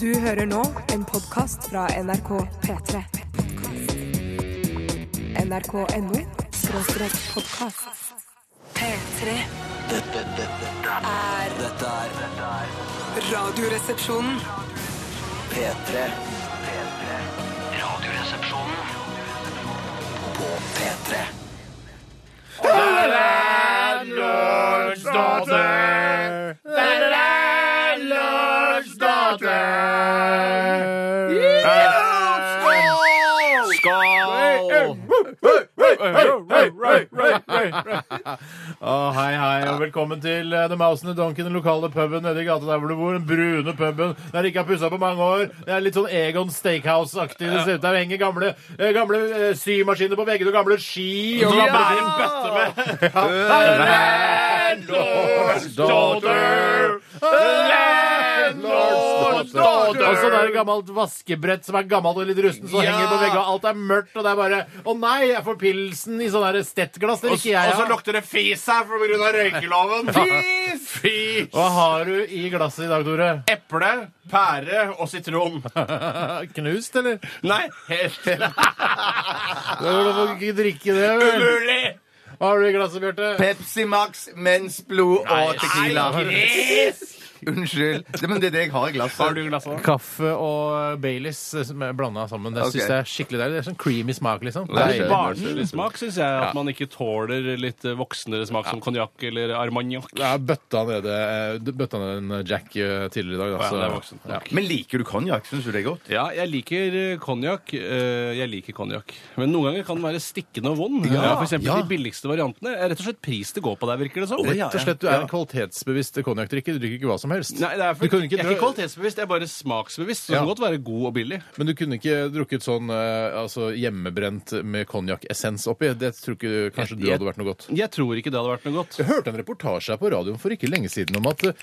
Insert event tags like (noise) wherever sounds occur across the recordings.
Du hører nå en podkast fra NRK P3. NRK.no skråstrek podkast. P3 Dette, dette, er dette er Radioresepsjonen. P3. Radioresepsjonen på P3. Å, hei, hei, og velkommen til eh, The Mouse and the Donkey, den lokale puben nede i gata der hvor du bor. Den brune puben der de ikke har pussa på mange år. Det er litt sånn Egon Steakhouse-aktig. Det ser ut der henger gamle, eh, gamle eh, symaskiner på veggene og gamle ski og gamle Landlord's daughter! Landlord's daughter! Og så er det et gammelt vaskebrett som er gammelt og litt rustent, som henger på veggene. Alt er mørkt, og det er bare Å nei, jeg får pilsen i sånn der stettglass. Det vil ikke jeg. Og så ha. lukter det fis her på grunn av røykeloven. Fis! Fis! Hva har du i glasset i dag, Tore? Eple, pære og sitron. (laughs) Knust, (laughs) eller? Nei, helt Du får ikke drikke det, vel? umulig! Hva har du i glasset, Bjarte? Pepsi Max, mensblod og tequila. Gris! Unnskyld. Det, men det er det jeg har i glasset. Har du glass av? Kaffe og eh, Baileys blanda sammen. Det Ok. syns jeg er skikkelig deilig. Det er sånn creamy smak, liksom. Nei, Deilig. Barnen smak syns jeg at man ikke tåler litt eh, voksnere smak som konjakk eller armagnac. Ja, bøtta nede eh, Bøtta ned en Jack eh, tidligere i dag. da, Ja, så- det er voksent nok. Men liker du konjakk? Syns du det er godt? Ja, jeg liker eh, konjakk. eh, Jeg liker konjakk. Men noen ganger kan den være stikkende og vond. Ja, for eksempel ja. de billigste variantene. Er rett og slett pris det går på der, virker det som. Rett og slett, Du er en kvalitetsbevisst konjakkdrikker. Du drikker ikke hva som helst. Nei, det er Du for, kunne ikke jeg er ikke drø- kvalitetsbevisst, jeg er bare smaksbevisst. Så det Ja. kan godt være god og billig. Men du kunne ikke drukket sånn eh, altså, hjemmebrent med konjakkessens oppi? Det tror ikke kanskje du Jeg- hadde vært noe godt. Jeg tror ikke det hadde vært noe godt. Jeg hørte en reportasje her på radioen for ikke lenge siden om at eh,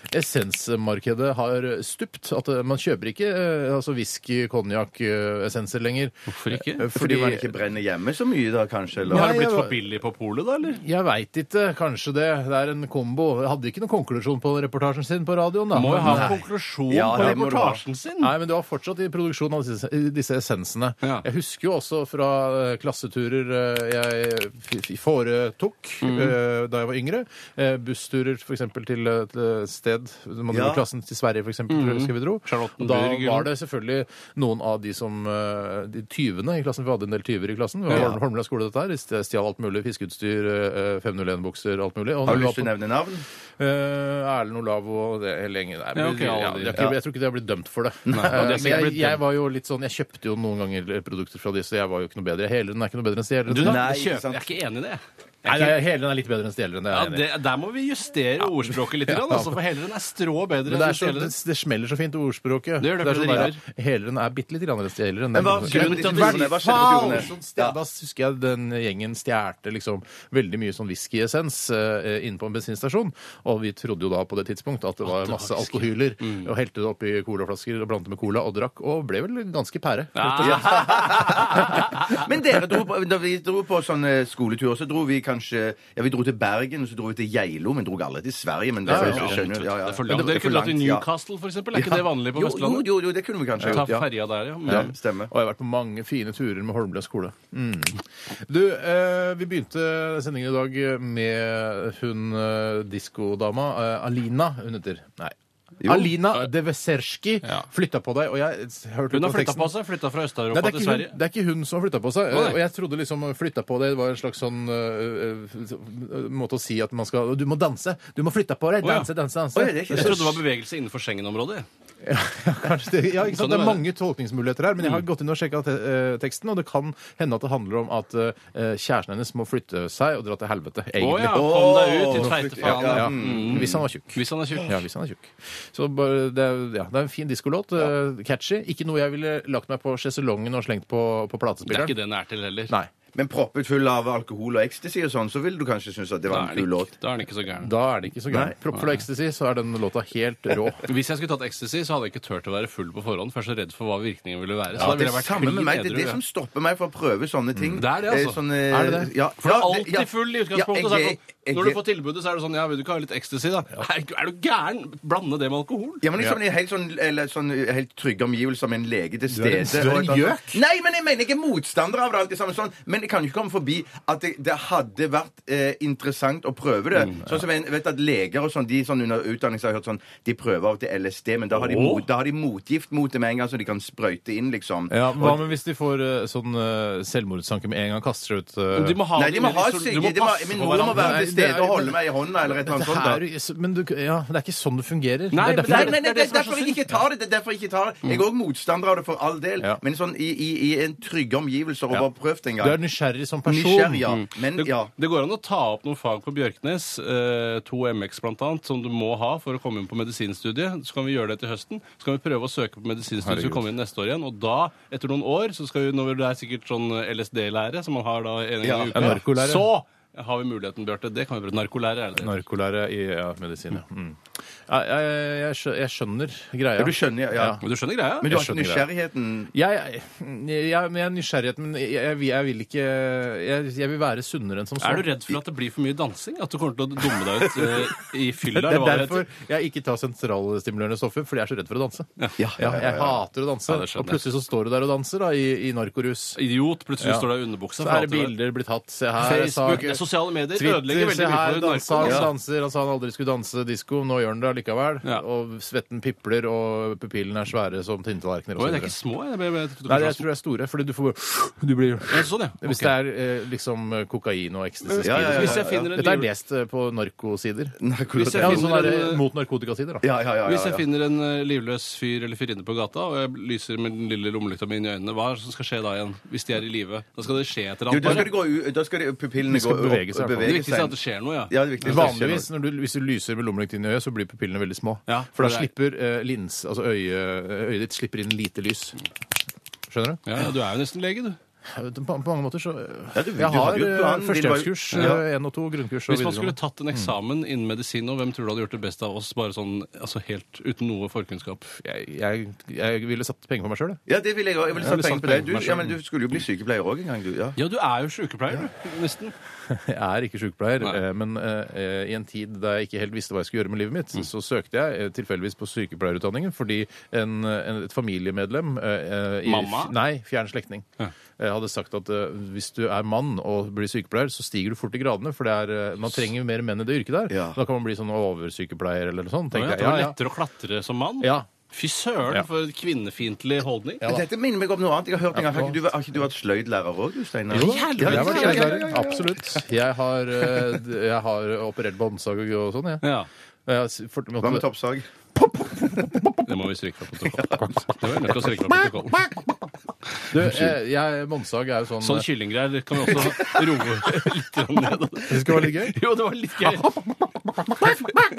essensmarkedet har stupt. At eh, man kjøper ikke eh, altså whisky, konjakk, eh, essenser lenger. Hvorfor ikke? Eh, Fordi, man ikke brenner hjemme så mye da, kanskje? Eller? Har det Nei, blitt jeg- for billig på polet, da, eller? Jeg veit ikke. Kanskje det. Det er en kombo. Jeg hadde ikke noen konklusjon på reportasjen sin på radioen. da. eh, Må jo ha Nei. en konklusjon Ja, på det må du ha. reportasjen sin. Nei, men du var fortsatt i produksjon av disse, disse essensene. Ja. Jeg husker jo også fra eh, klasseturer eh, jeg f- f- foretok Mm. eh, da jeg var yngre. Eh, Bussturer f.eks. til et eh, sted. Man dro Ja. Mm. klassen til Sverige, f.eks. husker vi dro. Charlottenburg, Da ja. var det selvfølgelig noen av de som eh, De tyvene i klassen. Vi hadde en del tyver i klassen. Det var Ja. Holm- Holmlia skole, dette her. De st- stjal alt mulig. Fiskeutstyr, eh, 501-bukser, alt mulig. Og Har når du vi var lyst til å på- nevne navn? Eh, Erlend Olavo og det hele gjengen. Nei, Ja, men- ok, alle ja, de. jeg, jeg tror ikke de har blitt dømt for det. og de har Eh, (laughs) sikkert men jeg, blitt dømt. jeg var jo litt sånn Jeg kjøpte jo noen ganger produkter fra de, så jeg var jo ikke noe bedre. Heleren er ikke noe bedre enn stjeleren. Du, da, Nei, kjøp- ikke sant. Jeg er ikke enig i det. Nei, nei, heleren er litt bedre enn stjeleren. Det er Ja, jeg enig i. det, der må vi justere ordspråket litt, grann, altså, for heleren er strå bedre Men det, er enn så, stjeleren. det, det smeller så fint, ordspråket. Det gjør det, for sånn det der, heleren er bitte litt grann enn stjeleren. Men hva Men- skjedde men- til i hvert Tone? Hva skjedde til fall, Tone? sånn sted- Ja. Da husker jeg den gjengen stjerte liksom veldig mye sånn whiskyessens eh, inne på en bensinstasjon. Og vi trodde jo da på det tidspunkt at det var Mm. masse alkohyler. Og helte det oppi colaflasker og blandet med cola og drakk. Og ble vel ganske pære. (laughs) Men dere dro på, da vi dro på sånne skoleturer, så dro vi kanskje Ja, vi dro til Bergen, og så dro vi til Geilo, men dro alle til Sverige. Men det, Ja, ja, jeg skjønner, ja, ja. Det er for Men langt. Dere kunne dratt til ja. Newcastle, for eksempel. Er ikke det vanlig på Jo, Vestlandet? Jo, jo, jo, det kunne vi kanskje Ta gjort. Ja. ferja der, ja. Ja, Men, stemmer. Og jeg har vært på mange fine turer med Holmlia skole. Mm. Du, eh, vi begynte sendingen i dag med hun eh, diskodama. Eh, Alina, hun heter. Nei. Jo. Alina Deveserski Ja. flytta på deg, og jeg s- hørte hun har på flytta teksten. på seg. Flytta fra Nei, det, Øst-Europa er til ikke hun, Sverige. det er ikke hun som har flytta på seg. Nei. Og jeg trodde liksom flytta på det var en slags sånn eh, eh, måte å si at man skal Du må danse! Du må flytte på deg! Å, ja. Danse, danse, danse! Oi, det er ikke Jeg trodde det var bevegelse innenfor Schengen-området. Ja, kanskje det. Ja, ikke sant? Det Mm. er Sånn er det. mange tolkningsmuligheter her, men jeg har gått inn og sjekka teksten, og det kan hende at det handler om at eh, kjæresten hennes må flytte seg og dra til helvete, Å egentlig. ja, kom deg ut til Åh, tveitefaen. Ja, Mm. Hvis han var tjukk. Hvis han er tjukk. Ja, hvis han er tjukk. Så bare, det, er, ja, det er en fin diskolåt. eh, Catchy. Ikke noe jeg ville lagt meg på sjeselongen og slengt på, på Det er platespilleren. ikke det den er til heller. Nei. men proppet full av alkohol og ecstasy og sånn, så vil du kanskje synes at det Da var er en den kul ikke- låt. da er den ikke så gæren. Da er det ikke så gærent. Proppfull av ecstasy, så er den låta helt rå. Hvis jeg skulle tatt ecstasy, så hadde jeg ikke turt å være full på forhånd. For jeg er så redd for hva virkningen ville være. Ja, Så da det er ville jeg vært samme med klin meg. Det er edru, det ja. som stopper meg fra å prøve sånne ting. Det er det, Eh, altså. sånn, eh, Er det det? Ja, For det er ja, alltid ja. full i utgangspunktet. Ja, så jeg- er det jeg- sånn, når du får tilbudet, så er det sånn Ja, vil du ikke ha litt ecstasy, da? Er, er du gæren? Blande det med alkohol? Ja, men liksom i helt, sånn, eller sånn, helt trygge omgivelser med en lege til er stede. en større og et- gjøk. Nei, men jeg mener ikke motstander av det. alt det samme sånn, Men jeg kan jo ikke komme forbi at det, det hadde vært eh, interessant å prøve det. Mm, Sånn som jeg vet at Leger og sånn, de sånn under utdanning så har jeg hørt sånn, de prøver av til LSD, men da har, de Åh. mot, da har de motgift mot det med en gang, så de kan sprøyte inn, liksom. (laughs) Ja, Hva med hvis de får eh, sånn eh, selvmordstanke med en gang? Kaster seg ut eh, Du må ha Nei, de må det i ha sol- syke, du må de må, passe Min på mor må hverandre. være Nei, til det stede er- og holde meg i hånda eller et eller annet det sånt. da. er, jo- men du, ja, det er ikke sånn det fungerer. Nei, det er men derfor, Nei, nei, nei, det er som er så derfor jeg ikke tar det. det er derfor jeg ikke tar det. Jeg er òg motstander av det for all del, Ja. men sånn i, i, i en trygge omgivelser og Ja. bare prøvd det en du er gang. nysgjerrig som person. Nysgjerrig, ja. Men Mm. Det, ja. det går an å ta opp noen fag på Bjørknes, eh, 2MX blant annet, som du må ha for å komme inn på medisinstudiet. Så kan vi gjøre det til høsten. Så kan vi prøve å søke på medisinstudiet så vi Herregud. kommer inn neste år igjen. Og da, etter noen år, så skal vi, når det er sikkert sånn LSD-lære som man har da en gang Ja, i ja, uka, narkolære. så har vi muligheten, Bjarte. Det kan vi prøve. Narkolære er det det. Narkolære i ja, medisin, ja. Mm. Ja, Jeg, jeg, jeg, skjø- jeg skjønner greia. Ja, du skjønner, ja. Men du skjønner greia? Men du Jeg har ikke skjønner det. nysgjerrigheten Jeg, jeg, jeg, men jeg er nysgjerrighet, men jeg, jeg, jeg vil ikke jeg, jeg vil være sunnere enn som så. Er du redd for at det blir for mye dansing? At du kommer til å dumme deg ut (laughs) eh, i fylla? Det er eller hva det derfor heter? jeg ikke tar sentralstimulerende stoffer, fordi jeg er så redd for å danse. Ja, ja, ja, Jeg hater å danse, Ja, det skjønner og plutselig så står du der og danser da, i, i narkorus. Idiot. Plutselig Ja. står det i underbuksa. Så for er det alt du vet. bilder blitt tatt. Se her, jeg sa- Facebook, sosiale medier Twitter, ødelegger veldig se mye her, for narko. dansa, han Ja. danser. Altså, Han sa han aldri skulle danse disko, nå gjør han det allikevel. Ja. Og svetten pipler, og pupillene er svære som tinnetallerkener. og så Oi, det er videre. ikke små? Jeg, jeg, jeg, Nei, jeg tror det er store, fordi du får bare Du blir Ja, sånn, ja. Hvis Ok. det er eh, liksom kokain og ecstasy. Ja, ja, ja, ja, ja. Hvis jeg finner en Dette er liv- lest eh, på narkosider. Narkolat- jeg Ja, finner sånn er det en- mot narkotikasider, da. ja, ja, ja, ja, Hvis jeg ja. finner en eh, livløs fyr eller fyrinne på gata, og jeg lyser med den lille lommelykta mi inn i øynene, hva er det som skal skje da igjen? Hvis de er i live? Da skal det skje et eller Jo, da annet. skal bare. det gå ut, da skal det, pupillene De skal gå opp, bevege seg, i hvert fall. Det bevege viktigste er at seg. det skjer noe, ja. Ja, det viktigste er at det skjer Vanligvis når du, hvis du lyser med lommelykt inn i øyet, så blir pupillene veldig små. Ja, for da det er- slipper eh, lins, altså øye, øyet ditt slipper inn lite lys. Skjønner du? Ja, ja, du er jo nesten lege, du. På, på mange måter så øh, Ja, du- du Jeg har hadde jo et plan. eh, Din var jo- førstehjelpskurs, Ja. eh, én og to, grunnkurs og Hvis man skulle videregående. tatt en eksamen innen medisin nå, hvem tror du hadde gjort det best av oss? Bare sånn, altså helt uten noe forkunnskap. Jeg, jeg, jeg ville satt penger på meg sjøl, jeg. noe. Ja, det vil jeg òg. Jeg vil ville satt satt penger på deg. penger på Du, meg selv. ja, men du skulle jo bli sykepleier òg en gang, du. Ja. Ja, du er jo sykepleier, du. Nesten. Jeg er ikke sykepleier, Nei. eh, men eh, i en tid da jeg ikke helt visste hva jeg skulle gjøre med livet mitt, så søkte jeg eh, tilfeldigvis på sykepleierutdanningen fordi en, en, et familiemedlem eh, eh, i, Mamma? Nei, fjern slektning. Ja. eh, hadde sagt at eh, hvis du er mann og blir sykepleier, så stiger du fort i gradene. For det er, eh, man trenger mer menn i det yrket der. Ja. Da kan man bli sånn oversykepleier eller noe sånt. Ja, tenker det var jeg. lettere å klatre som mann. Ja, ja. Fy søren, Ja. for kvinnefiendtlig holdning. Ja, da. Dette minner meg om noe annet. Jeg har hørt en gang, Har ikke du, har ikke du vært sløydlærer òg, du, Steinar? Jo da, Ja, jeg har vært ja, ja, ja, sløydlærer. ja, ja, ja. Absolutt. Jeg har, eh, d- jeg har operert båndsag og og sånn, jeg. Ja, Jeg har s- fort- Hva med måtte- toppsag? Det må vi stryke fra protokollen. Det var jeg nødt til å stryke fra protokollen. Du, jeg, jeg, båndsag er jo sånn Sånn kyllinggreier kan vi også roe litt grann ned. Det skulle være litt gøy. Jo, det var litt gøy. Jeg Men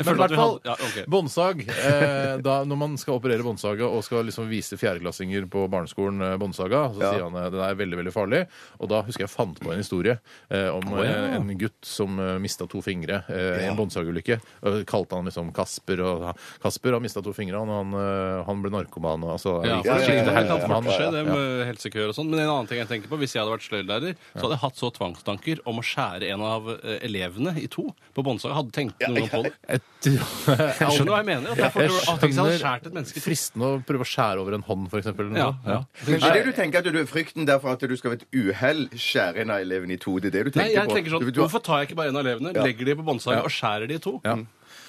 i føler at hvert vi fall, hadde ja, ok. båndsag eh, da, Når man skal operere båndsaga og skal liksom vise fjerdeklassinger på barneskolen eh, båndsaga, så Ja. sier han eh, den er veldig veldig farlig. Og da husker jeg jeg fant på en historie eh, om Å, ja. eh, en gutt som eh, mista to fingre eh, i Ja. en båndsagulykke. Og Kalte han liksom Kasper. Og Kasper har mista to fingre, og han, eh, han ble narkoman. og Altså, Ja, gikk- for det, det her kan Men han- fort skje, det med helsekøer og sånn. Men en annen ting jeg tenker på, hvis jeg hadde vært sløydlærer, så hadde jeg hatt så tvangstanker om å skjære en av eh, elevene i to på båndsaga. Hadde tenkt noen gang på det. Jeg Jeg skjønner hva jeg mener. At jeg, Jeg får, at jeg hadde skjønner- skjært et menneske i to. Fristende å prøve å skjære over en hånd, for eksempel. eller Ja, noe. ja. Men så er det du tenker at du er frykten derfor at du skal ved et uhell skjære en av elevene i to? Det er det du Nei, tenker jeg på? tenker sånn, Du- du har- Hvorfor tar jeg ikke bare en av elevene, legger de på båndsaga og skjærer de i to? Ja.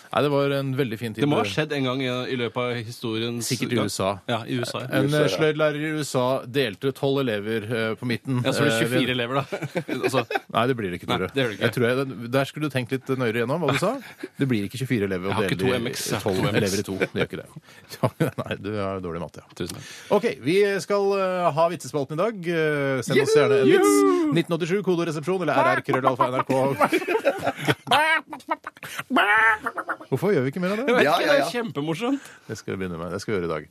Nei, det var en veldig fin tid. Det må ha skjedd en gang i, i løpet av historien. Sikkert i USA. Ja, i USA. ja. En eh, sløydlærer i USA delte tolv elever eh, på midten. Ja, så var Eh, det 24 ved- elever, da. (laughs) altså, Nei, det blir det ikke, Nei, Tore. det gjør det ikke. Jeg tror jeg, der skulle du tenkt litt nøyere gjennom hva du (laughs) sa. Det blir ikke 24 elever Jeg å har ikke to dele MX, jeg har 12 ikke to MX. elever i to. Det gjør ikke det. (laughs) Ja, Nei, du er dårlig i matte, ja. tusen takk. OK, vi skal eh, ha vitsespalten i dag. Eh, Send oss gjerne en vits. 1987, kodoresepsjon eller rrkrøllalfa.nrk. Hvorfor gjør vi ikke mer av det? Ja, ja, ja. Det er kjempemorsomt. Det skal jeg begynne med. Det skal jeg gjøre i dag.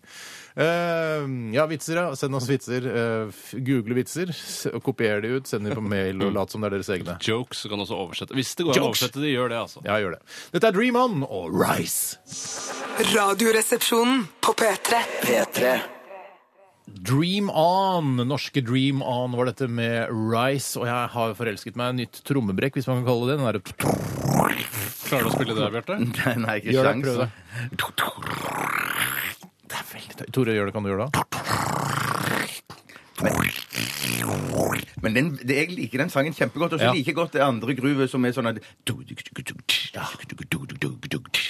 Eh, ja, vitser, ja. Send oss vitser. Eh, f- google vitser. s- og Kopier de ut. Send de på mail og lat som det er deres egne. Jokes kan også oversette. Hvis det går an å Jokes. oversette, de gjør det, altså. Ja, gjør det. Dette er Dream On og Rise. Radioresepsjonen på P3. P3. Dream On, norske Dream On var dette med Rise, og jeg har forelsket meg i nytt trommebrekk, hvis man kan kalle det det. Den der, Klarer du å spille det der, Bjarte? Nei, nei, ikke gjør det, sjans. prøv det. Det er veldig tøy. Tore, gjør det, kan du gjøre det? Men den, det, jeg liker den sangen kjempegodt. Og så Ja. liker jeg godt det andre gruvet som er sånn at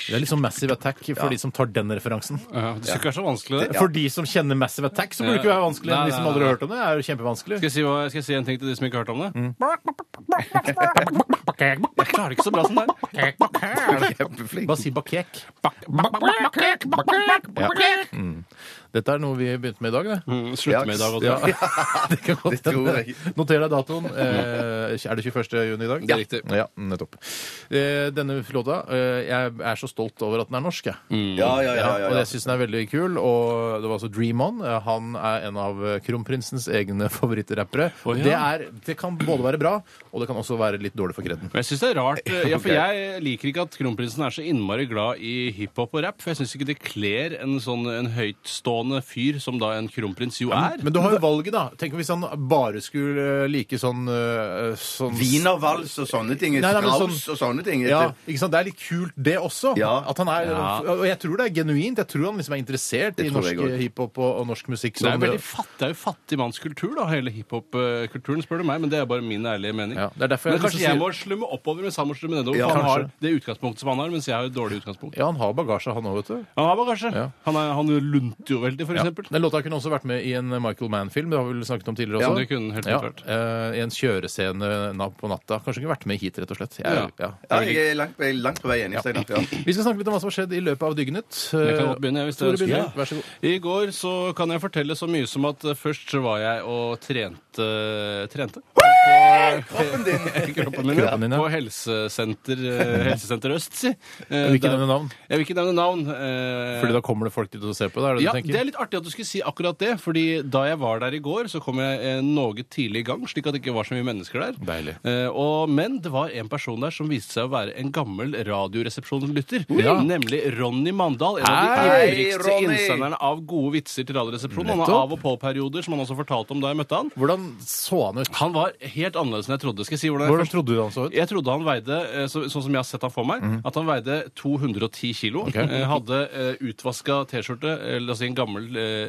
Det er liksom Massive Attack for de som tar den referansen. Ja, det skal ikke være så vanskelig, det. For de som kjenner Massive Attack, så burde det ikke være vanskelig. Nei, men De som nei, aldri nei. har hørt om det, er jo kjempevanskelig. Skal jeg, si hva, skal jeg si en ting til de som ikke har hørt om det? Mm. Jeg klarer det ikke så bra som (laughs) deg. Kjempeflink. Bare si bakek. Mm. Dette er noe vi begynte med i dag, det. Mm, Slutte med i dag også. Ja. det kan godt Det tror hende. jeg. Noter deg datoen. Eh, er det 21. juni i dag? Det er riktig. Ja, nettopp. Eh, denne låta eh, Jeg er så stolt over at den er norsk, jeg. Ja, ja, ja. ja, Og ja. jeg syns den er veldig kul. Og det var altså Dream On. Eh, Han er en av eh, kronprinsens egne (laughs) favorittrappere. Å, ja. det, er- det kan både være bra, og det kan også være litt dårlig for kredden. Men jeg synes det er rart, eh, ja, for jeg liker ikke at kronprinsen er så innmari glad i hiphop og rap, for jeg synes ikke det kler en sånn en høytstående fyr som da en kronprins jo er. Men du har jo valget, da. Tenk hvis han bare skulle eh, like sånn, eh, sånn Wienervals og sånne ting. Nei, nei, men sånn- Strauss og sånne ting. Ja, ikke sant? Det er litt kult, det også. Ja. At han er, Og jeg tror det er genuint. Jeg tror han liksom er interessert Det i tror jeg norsk også. hiphop og, og norsk musikk. Det er, som- veldig fatt, det er jo fattigmannskultur, da, hele hiphop-kulturen, spør du meg. Men det er bare min ærlige mening. Ja, det er derfor jeg men har lyst kanskje til å jeg si- må slumme oppover, mens han må slumme nedover. Ja, for han har kanskje. det utgangspunktet som han har, mens jeg har et dårlig utgangspunkt. ja, han har bagasje, han òg, vet du. Han har bagasje. Ja. Han, er, han lunter jo veldig, for Ja. eksempel. Den låta kunne også vært med i en Michael Mann-film. Det har vi vel snakket om tidligere Ja, også. det kunne den helt klart vært. eh, I en kjørescene na- på natta. Kanskje kunne vært med hit, rett og slett. Jeg, Ja. ja. Ja, jeg er langt, jeg er langt på vei enig. Steinar. Ja. Vi skal snakke litt om hva som har skjedd i løpet av dygnet. Eh, Jeg kan godt begynne, jeg, hvis det Tore ønsker. begynner. Vær så god. I går så kan jeg fortelle så mye som at eh, først så var jeg og trente Trente? Kroppen din! Kroppen min, Kroppen din, ja. ja. På helsesenter, eh, helsesenter Øst, si. Eh, Jeg vil ikke nevne navn. Jeg vil ikke nevne navn. eh, Fordi da kommer det folk dit og ser på det, er det ja, du tenker? Det er litt artig at du skulle si akkurat det, fordi da jeg var der i går, så kom jeg eh, noe tidlig i gang, slik at det ikke var så mye mennesker der. Deilig. Eh, og, men det var en person der som viste seg å være en gammel radioresepsjonslytter, Ja. nemlig Ronny Mandal. En av Hei, de ivrigste Ronny! innsenderne av gode vitser til Radioresepsjonen. Han har Nettopp. av og på-perioder, som han også fortalte om da jeg møtte han. Hvordan så han ut? Han var helt annerledes enn jeg trodde. Skal jeg si hvordan jeg Hvordan først- trodde du han så ut? Mhm. jeg trodde han veide, eh, så, sånn som jeg har sett han for meg, at han veide 210 kilo. Eh, Hadde eh, utvaska T-skjorte, eh, la oss si en gammel eh,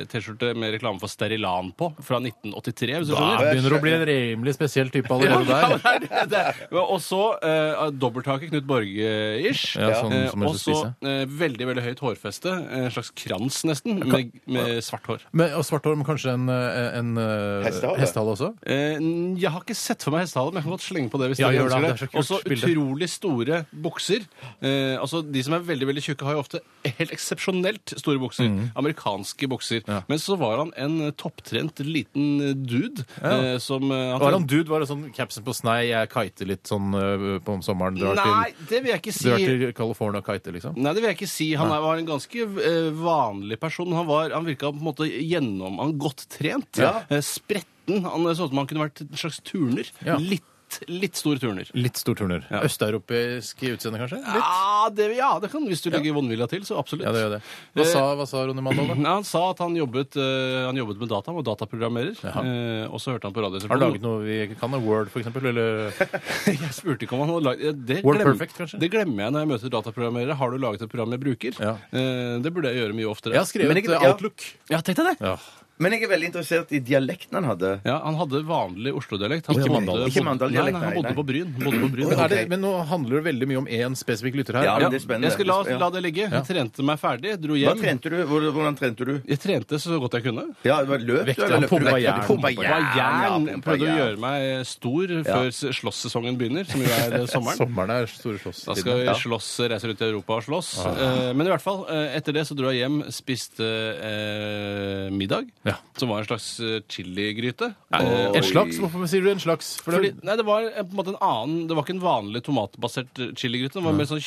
eh, T-skjorte med reklame for Sterilan på, fra 1983, hvis du Ja, skjønner. begynner å bli en rimelig spesiell type allerede Ja, der. (laughs) det er det, det er. Og så eh, dobbelttaket Knut Borge-ish. Ja, sånn Eh, som man og skal så spise. eh, veldig veldig høyt hårfeste. En slags krans, nesten, med, med svart hår. Men, og svart hår, men kanskje en, eh, en eh, Hestehale. hestehale også? Eh, n- jeg har ikke sett for meg hestehalen, men jeg kan godt slenge på det. hvis Ja, dere gjør det. ønsker Det er så kult Og så bilde. utrolig store bukser. Eh, altså, De som er veldig veldig tjukke, har jo ofte helt eksepsjonelt store bukser. Mm. Amerikanske bukser. Men så var han en eh, topptrent liten eh, dude eh, som eh, Var han dude? Var det sånn capsen på snei, jeg kiter litt sånn eh, på om sommeren? Drar Nei, til, det vil jeg ikke drar si. til California og kiter, liksom? Nei, det vil jeg ikke si. Han er, var en ganske eh, vanlig person. Han, var, han virka på en måte gjennom Han godt trent. Ja. Eh, spretten. Han så ut som han kunne vært en slags turner. Ja. Litt, litt stor turner. Litt stor turner. Ja. Østeuropeisk i utseende, kanskje? Litt? Ja, det, ja, det kan Hvis du legger vondvilja til, så absolutt. Ja, det gjør det. Hva sa, hva sa Ronny Mandal, da? Nei, han sa at han jobbet, eh, han jobbet med data, han var dataprogrammerer. eh, og så hørte han på radio. Har du laget noe vi ikke kan? da? Word, for eksempel? Eller (laughs) Jeg spurte ikke om han hadde laget eh, det Word glem- Perfect, kanskje? Det glemmer jeg når jeg møter dataprogrammerere. Har du laget et program jeg bruker? Ja. Eh, det burde jeg gjøre mye oftere. Jeg har skrevet Men ikke- eh, ja. Outlook. Ja, tenk deg det! Ja. Men jeg er veldig interessert i dialekten han hadde. Ja, Han hadde vanlig Oslo-dialekt. Han Ikke bodde- Mandal- ikke bodde- Mandal-dialekt, Nei, nei, han nei, bodde på Bryn. Bodde på (laughs) Bryn. Men, er det, men nå handler det veldig mye om én spesifikk lytter her. Ja, Ja, men det er spennende. jeg skal la, Ja. la det ligge. Jeg trente meg ferdig, dro Hva hjem. trente du? Hvor- Hvordan trente du? Jeg trente så godt jeg kunne. Ja, det var løp Vekter, du, eller løp du? pumpa Vekter, jern. Pumpa Pumpa jern. ja, Jern pumpa prøvde å jern. gjøre meg stor før s- slåsssesongen begynner, som jo (laughs) er eh, sommeren. Sommeren er store slåss. Da skal vi slåss, reise rundt i Europa og slåss. Eh, Men i hvert fall, eh, etter det så dro jeg hjem, spiste eh, middag, Ja. Som var en slags eh, chiligryte. Eh, Oi. En slags? Hvorfor sier du en slags? For Fordi, det, nei, det var eh, på en måte en annen Det var ikke en vanlig tomatbasert eh, chiligryte. Det var mer sånn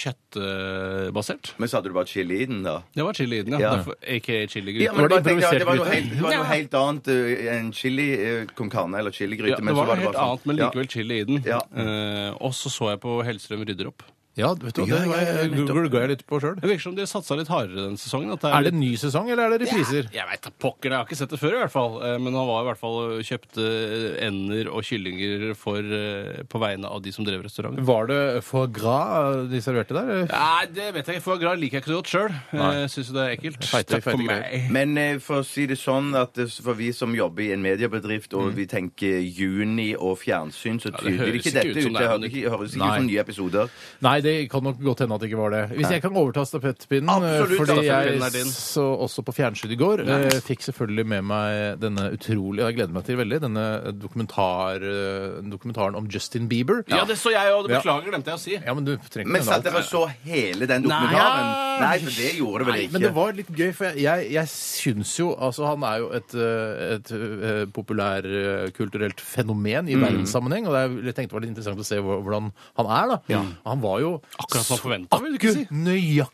kjøttbasert. Men så hadde du bare chili i den, da. Det var chili i den, ja. Ja. Derfor, AKA chiligryte. Ja, men Var det bare tenk deg at det var noe improvisert helt, det var noe helt annet eh, enn chili eh, con carne eller chiligryte. Ja, det men så var noe det helt bare sånn- annet, men Ja. likevel chili i den. Ja. Eh, og så så jeg på Hellstrøm rydder opp. ja, vet du hva, Ja, det ja, var- ja, jeg nettopp. glugga jeg litt på sjøl. Det virker som de satsa litt hardere den sesongen. At det Er det en ny sesong, eller er det repriser? Jeg veit da pokker, jeg har ikke sett det før i hvert fall. Eh, Men han var i hvert fall og kjøpte ender og kyllinger for, eh, på vegne av de som drev restauranten. Var det foie gras de serverte der? Nei, det vet jeg ikke, for agrar liker jeg ikke så godt sjøl. Nei. Syns jo det er ekkelt. Feite- Takk for feite greier. meg. Men eh, for å si det sånn, at eh, for vi som jobber i en mediebedrift, og vi tenker juni og fjernsyn, så Mm. det tyder høres ikke ikke dette ut. ut som det Det er høres ikke, høres ikke Nei. ut som nye episoder. Nei, det kan nok godt hende at det ikke var det. Hvis jeg kan overta stafettpinnen, eh, Absolutt, fordi stafettpinnen er jeg din. så også på fjernsyn i går, eh, fikk selvfølgelig med meg denne utrolig, jeg gleder meg til veldig, denne dokumentar, eh, dokumentaren om Justin Bieber. Ja, det så jeg òg. Ja. Beklager, glemte jeg å si. Ja, men du trenger ikke Men nevne satt alt. dere og så hele den dokumentaren? Nei. Nei, for det gjorde det vel Nei, ikke. men det var litt gøy, for jeg, jeg, jeg syns jo Altså, han er jo et, eh, et eh, populærkulturelt fenomen Mm. i verdenssammenheng, og det er, jeg tenkte det var litt interessant å se hvor- hvordan han er, da. Og Han var jo Akkurat som så- forventet, vil du ikke si? akkurat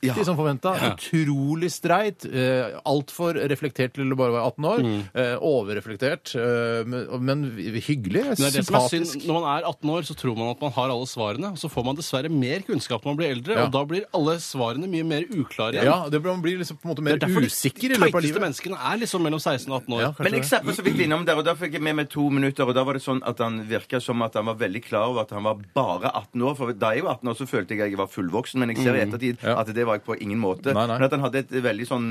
Nøyaktig Ja. som forventa. Utrolig streit. eh, Altfor reflektert til å bare være 18 år. Mm. eh, Overreflektert, eh, men, men hyggelig. Men det er det som er synd. Sympatisk. Når man er 18 år, så tror man at man har alle svarene. Og så får man dessverre mer kunnskap når man blir eldre, Ja. og da blir alle svarene mye mer uklare igjen. Ja, det blir- man blir liksom på en måte mer Det er derfor de usikker i løpet av teiteste livet. menneskene er liksom mellom 16 og 18 år. Ja, kanskje Men jeg det. satt meg så vidt innom der, og da fikk jeg med meg to minutter, og da var det sånn at han virka som at han var veldig klar over at han var bare 18 år. For da jeg var 18 år, så følte jeg at jeg var fullvoksen, men jeg ser i ettertid Mm. Ja. at det var jeg på ingen måte. Nei, nei. Men at han hadde et veldig sånn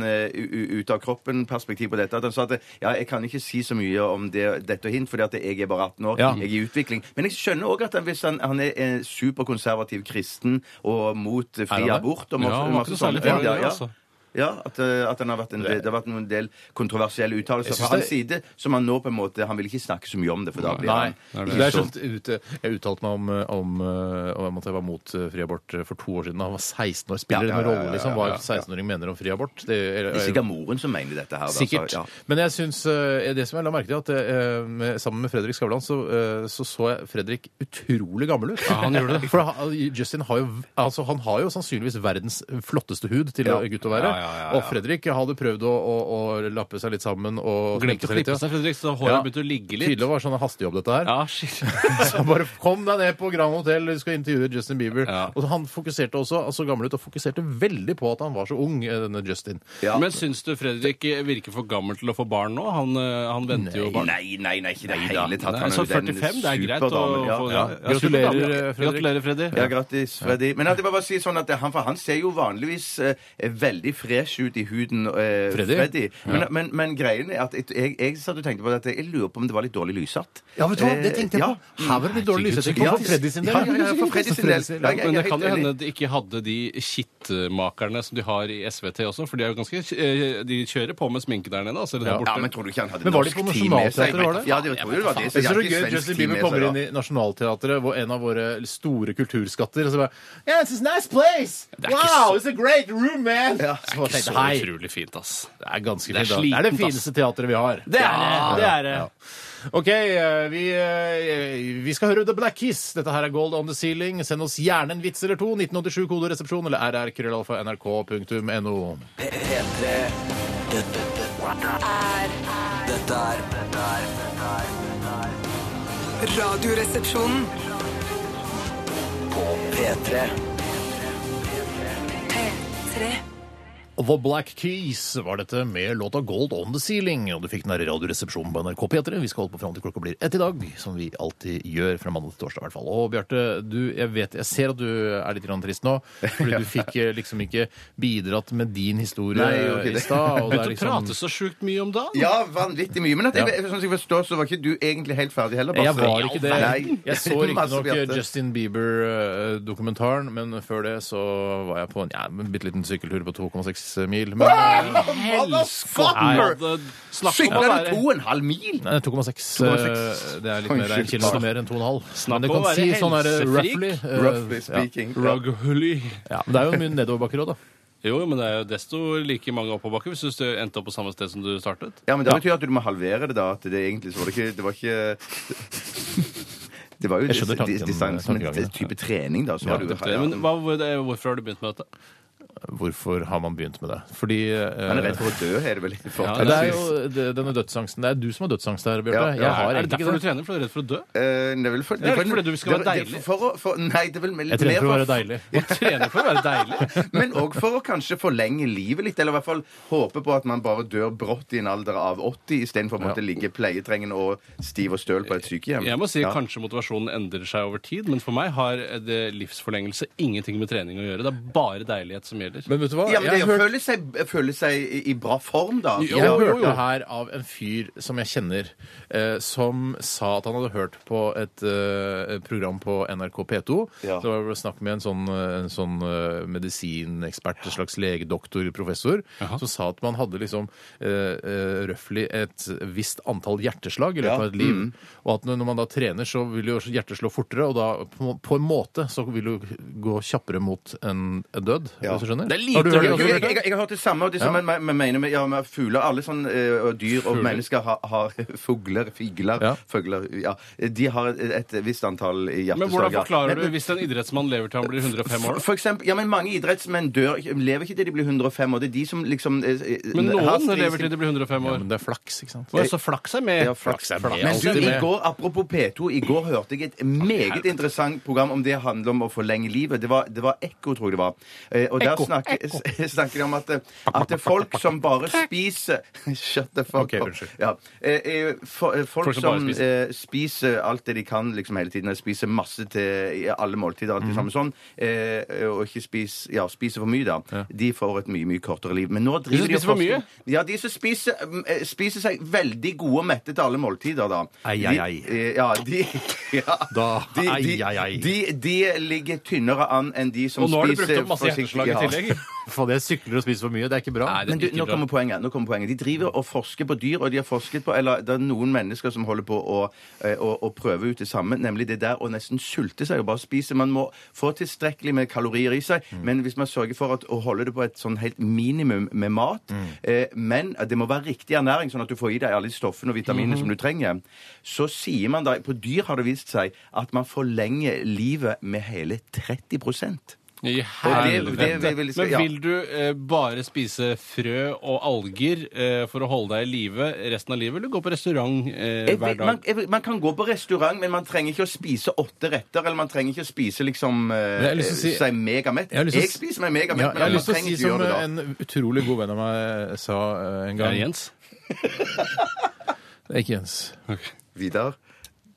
ut-av-kroppen-perspektiv på dette. At han sa at ja, jeg kan ikke si så mye om det, dette og hint, fordi at jeg er bare 18 år, Ja. jeg er i utvikling. Men jeg skjønner òg at han, hvis han, han er en superkonservativ kristen og mot eh, Er han fri det? abort og Ja, masse, han var ikke masse noe særlig sånne farlig, Ja, ja. altså. Ja, at, eh, at han har vært en, det har vært en del kontroversielle uttalelser Jeg synes fra hans det- side som han nå på en måte Han vil ikke snakke så mye om det, for da blir Nei. han Det er sånn, ut- jeg uttalte meg om, om, eh, om at jeg var mot eh, fri abort eh, for to år siden. da Han var 16 år. Ja, Spiller ja, ja, ja, det noen ja, rolle liksom, ja, hva ja, en 16-åring mener om fri abort? Det, eller- Det er sikkert moren som mener dette her. da, så- Sikkert. ja. Men jeg syns eh, det som jeg la merke til, at eh, med, sammen med Fredrik Skavlan så, eh, så så jeg Fredrik utrolig gammel ut. Ja, han gjorde det. For han- Justin har jo, altså, han har jo sannsynligvis verdens flotteste hud til Ja. å- gutt å være. Ja, ja, ja, ja. Og Fredrik hadde prøvd å, å, å lappe seg litt sammen og Glemte å litt, ja. klippe seg, Fredrik, så Ja. håret begynte å ligge litt. Tydelig var sånn hastejobb, dette her. Ja, shit. (laughs) Så bare kom deg ned på Grand Hotel, du skal intervjue Justin Bieber. Ja. Og han fokuserte også, han så gammel ut, og fokuserte veldig på at han var så ung, eh, denne Justin. Ja. Men syns du Fredrik virker for gammel til å få barn nå? Han, eh, han venter jo barn. Nei, nei, nei, ikke i det Ja, hele tatt. nei, Han er jo så den 45, det er greit å superdamen, ja. få Ja. ja, Gratulerer, eh, superdame. Fredrik. Gratulerer, Fredrik. Ja, grattis, Freddy. Men at jeg bare bare sier sånn at det- han, for han ser jo vanligvis eh, veldig fresh ut i huden, eh, Freddy? Freddy. Men, men, men greien er at jeg, jeg, jeg satt og tenkte på dette, jeg lurer på om det var litt dårlig lyssatt. Eh, ja. Her var det litt dårlig lyssetting Ja, for Freddy sin del. Ja, ja, ja, for Freddy sin del. Ja, jeg- jeg er Men det helt kan jo enig. hende de ikke hadde de kittmakerne som de har i SVT også, for de er jo ganske eh, De kjører på med sminke der nede, altså. Eller der borte. Ja, men tror du ikke han hadde Men var det norsk på tid med seg? Nationaltheatret, var det? Ja, det tror jeg det var det. Jeg synes de det er hadde gøy ikke at Justin svensk Bieber tid med kommer seg, inn da. i Nationaltheatret, hvor en av våre store kulturskatter, og så bare Yeah, it's a nice place! er ikke så- Wow, it's a great room, man! Så bare Ikke tenkte så jeg, hei, utrolig fint, ass. det er ganske Det er fint. da. Det er det slitent, ass. fineste teatret vi har. Det er det. Det er det. Ja. OK, eh, vi, eh, vi skal høre The Black Kiss. Dette her er Gold on the Ceiling. Send oss gjerne en vits eller to. 1987 koderesepsjon eller rrkrøllalfa.nrk.no. P- P3 Dette, dette, Er dette er dette er- dette er Radioresepsjonen. På P3 P3. The Black Keys var dette med låta Gold on the Ceiling. Og du fikk den her i Radioresepsjonen på NRK P3. Vi skal holde på fram til klokka blir ett i dag, som vi alltid gjør fra mandag til torsdag. i hvert fall. Og Bjarte, du, jeg, vet, jeg ser at du er litt grann trist nå, fordi (laughs) du fikk eh, liksom ikke bidratt med din historie Nei, jeg gjorde ikke i det. stad. (laughs) og det er Du liksom... prater så sjukt mye om dagen. Ja, vanvittig mye. Men at jeg, sånn som jeg forstår, så var ikke du egentlig helt ferdig heller. Jeg Basse. var ikke det. Nei. Jeg (laughs) så Masse riktignok eh, Bjarte. Justin Bieber-dokumentaren, men før det så var jeg på en, ja, en bitte liten sykkeltur på 2,6 mil. Men, Ah! eh, Motherfucker! Snakk om å Sykla du være to og en halv mil? Nei, 2,6. 2,6. eh, Det er litt mer en Unnskyld. kilometer mer enn 2,5. Snakk Men det om kan å si være sånn her eh, helsefreak. roughly. eh, Roughly speaking. Ja. Rughulley. Ja, men det er jo mye nedoverbakker òg, da. Jo, jo, men det er jo desto like mange oppoverbakker hvis du stø- endte opp på samme sted som du startet. Ja, men det betyr at du må halvere det, da. At det egentlig så var det ikke Det var ikke (laughs) det var jo Jeg skjønner tanken- eh, dis- distansen, men tankegangen, ja. det type trening, da. Så var det jo, Men hva, hvor- det- hvorfor har du begynt med dette? Hvorfor har man begynt med det? Fordi eh, Han er redd for å dø, er det vel? For, Ja, det er jo det- denne dødsangsten. Det er du som har dødsangst der, Bjarte. Ja, ja. Jeg har er egentlig det derfor ikke du det. trener? For du er redd for å dø? Eh, det er vel for, Det er ikke fordi du skal det- være det- deilig. For, å- for, nei, det er vel mer Jeg trener for å mer være deilig. (laughs) Å trene for å være deilig? Men òg for å kanskje forlenge livet litt, eller i hvert fall håpe på at man bare dør brått i en alder av 80, istedenfor å måtte ligge pleietrengende og stiv og støl på et sykehjem. Jeg må si Ja. kanskje motivasjonen endrer seg over tid, men for meg har det livsforlengelse ingenting med trening å gjøre. Det er bare deilighet som gjelder. Men vet du hva? Ja, men det Jeg er har å hørt føle seg, føle seg i, i bra form, da. Jo, Jeg Ja. jo, jo. hørte her av en fyr som jeg kjenner, eh, som sa at han hadde hørt på et eh, program på NRK P2. Ja. Så var det snakk med en sånn, eh, en sånn eh, medisinekspert, en slags legedoktor, professor, som sa at man hadde liksom eh, eh, røftlig et visst antall hjerteslag i løpet Ja. av et liv. Mm. Og at når man da trener, så vil jo hjertet slå fortere, og da på, på en måte så vil du gå kjappere mot en, en død, Ja. hvis du skjønner? Det er lite- Har du hørt Jo, det også, jeg, Bjarte? jeg, jeg har hørt det samme, og det samme men- men mener med, ja, med fugler. Alle sånne eh, og dyr og mennesker har, har (laughs) fugler, figler, Ja. fugler ja. De har et, et visst antall hjerteslag. Men hvordan ja. forklarer Men- du hvis en idrettsmann lever til han blir 105 år? For eksempel, ja, men Mange idrettsmenn dør, ikke- lever ikke til de blir 105, og det er de som liksom eh, Men har noen stri- lever til de blir 105 Ja, år. men det er flaks, ikke sant? Og så flaks er med. Ja, flaks er med. Flaks. Jeg er Men alltid du, i med. går, apropos P2, i går hørte jeg et meget interessant program om det handler om å forlenge livet. Det var, det var Ekko, tror jeg det var. Eh, Og der Ekko, snak, (laughs) snakker de om at, eh, at det er folk som bare spiser (laughs) Shut the fuck Ok, up. unnskyld. Ja. Eh, eh, for, eh, folk, Folk som bare som spiser. eh, spiser alt det de kan liksom hele tiden, spiser masse til i alle måltider, alt det Mhm. samme sånn, eh, og ikke spis, ja, spiser for mye, da, de får et mye, mye kortere liv. Men nå driver som og spiser for forsker- mye? ja, de som spiser, mm, eh, spiser seg veldig gode og mette til alle måltider, da. Ai, ai, ai. De, eh, ja, de, (laughs) ja, Da, de, de, ai, ai, ai. De, de ligger tynnere an enn de som Og nå har du spiser brukt opp masse forsiktig- hjerteslag i ja. tillegg. Faen, jeg sykler og spiser for mye. Det er ikke bra. Nei, det- Men du, ikke nå bra. kommer poenget. nå kommer poenget. De driver og forsker på dyr, og de har forsket på Eller det er noen mennesker som holder på å, eh, å, å prøve ut det samme, nemlig det der å nesten sulte seg og bare spise. Man må få tilstrekkelig med kalorier i seg, Mm. men hvis man sørger for at, å holde det på et sånn helt minimum med mat Mm. eh, Men det må være riktig ernæring, sånn at du får i deg alle de stoffene og Mhm. vitaminene som du trenger. Så sier man da På dyr har det vist seg at man forlenger livet med hele 30 I Og det- det- det vil- helvete. Men ja. vil du eh, bare spise frø og alger eh, for å holde deg i live resten av livet, eller gå på restaurant eh, Jeg hver vet, man, dag? jeg, vet- man kan gå på restaurant, men man trenger ikke å spise åtte retter. Eller man trenger ikke å spise liksom eh, jeg har lyst til å si- seg megamett. jeg har Jeg, lyst til å si- spiser meg megamett, Ja, jeg har men lyst man til å trenger si ikke gjøre som eh, det da. en utrolig god venn av meg sa eh, en Ja, gang Jens? Det er Ikke Jens. Vidar.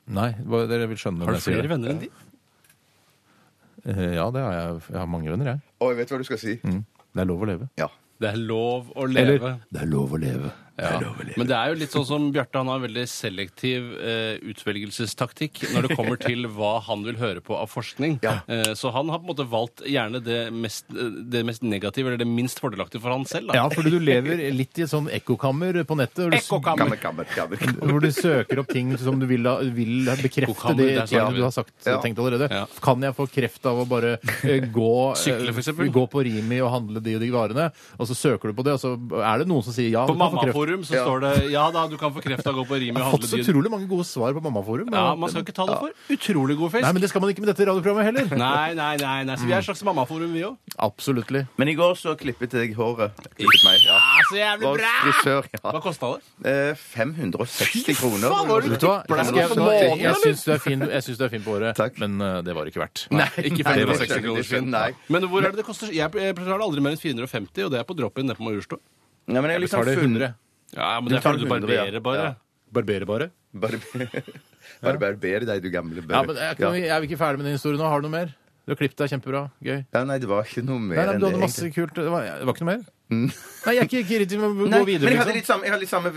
Nei, hva- dere vil skjønne Har når du jeg sier flere det. venner enn de? Eh, Ja, det har jeg. Jeg har mange venner, jeg. Å, jeg vet hva du skal si. Det er lov å leve. Ja. Det er lov å leve. Eller Det er lov å leve. Det er lov å leve. Men det er jo litt sånn som Bjarte. Han har en veldig selektiv eh, utvelgelsestaktikk når det kommer til hva han vil høre på av forskning. Ja. Eh, så han har på en måte valgt gjerne det mest, eh, det mest negative, eller det minst fordelaktige for han selv. Da. Ja, fordi du lever litt i et sånn ekkokammer på nettet. hvor du- Kammer, kammer, kammer. kammer. Hvor du søker opp ting som du vil, ha- vil ha bekrefte Ekkokammer, de der snakker tingene vi. du har sagt, Ja. tenkt allerede. Ja. Kan jeg få kreft av å bare eh, gå, Sykle, for eksempel? eh, gå på Rimi og handle de og de varene, og så søker du på det, og så er det noen som sier ja, På du kan få kreft. Mammaforum så står det ja da, du kan få kreft av å gå på Rimi Jeg og har fått så handle dyr. utrolig mange gode svar på Mammaforum. Ja, man skal ikke ta det for utrolig god fisk. Nei, men det skal man ikke med dette radioprogrammet heller. Nei, nei, nei, nei. Så vi er et slags mammaforum, vi òg. Absoluttlig. (laughs) Men i går så klippet jeg håret. Klippet meg, ja. Så jævlig Var bra! frisør, Hva ja. kosta det? Eh, 560 kroner. faen, var du Vet du hva? Ble Jeg, det skal- noe på jeg, månen, jeg syns du er fin, jeg syns du er fin på året, Takk. men eh, det var ikke verdt. Ikke nei, det skjønner 560 jeg, kroner det skjønner jeg. Men hvor er det det koster? Jeg betaler aldri mer enn 450, og det er på drop-in nede på Majorstua. Nei, men jeg har liksom Betaler funnet 100. Ja, men Du det er fordi du tar 100, ja. barberer bare. Ja. Barberbare. Bare (laughs) bare barber deg, du gamle bør. Ja, men jeg, kan, ja. jeg er vi ikke ferdig med den historien nå? Har du noe mer? Du har klippet deg kjempebra. Gøy. Ja, nei, det var ikke noe mer Nei, nei, men enn du det. egentlig. Mm. hadde masse kult Det var, det var ikke noe mer? Nei, jeg er ikke ikke riktig med å Nei, gå videre. men jeg hadde liksom. litt samme, jeg hadde litt samme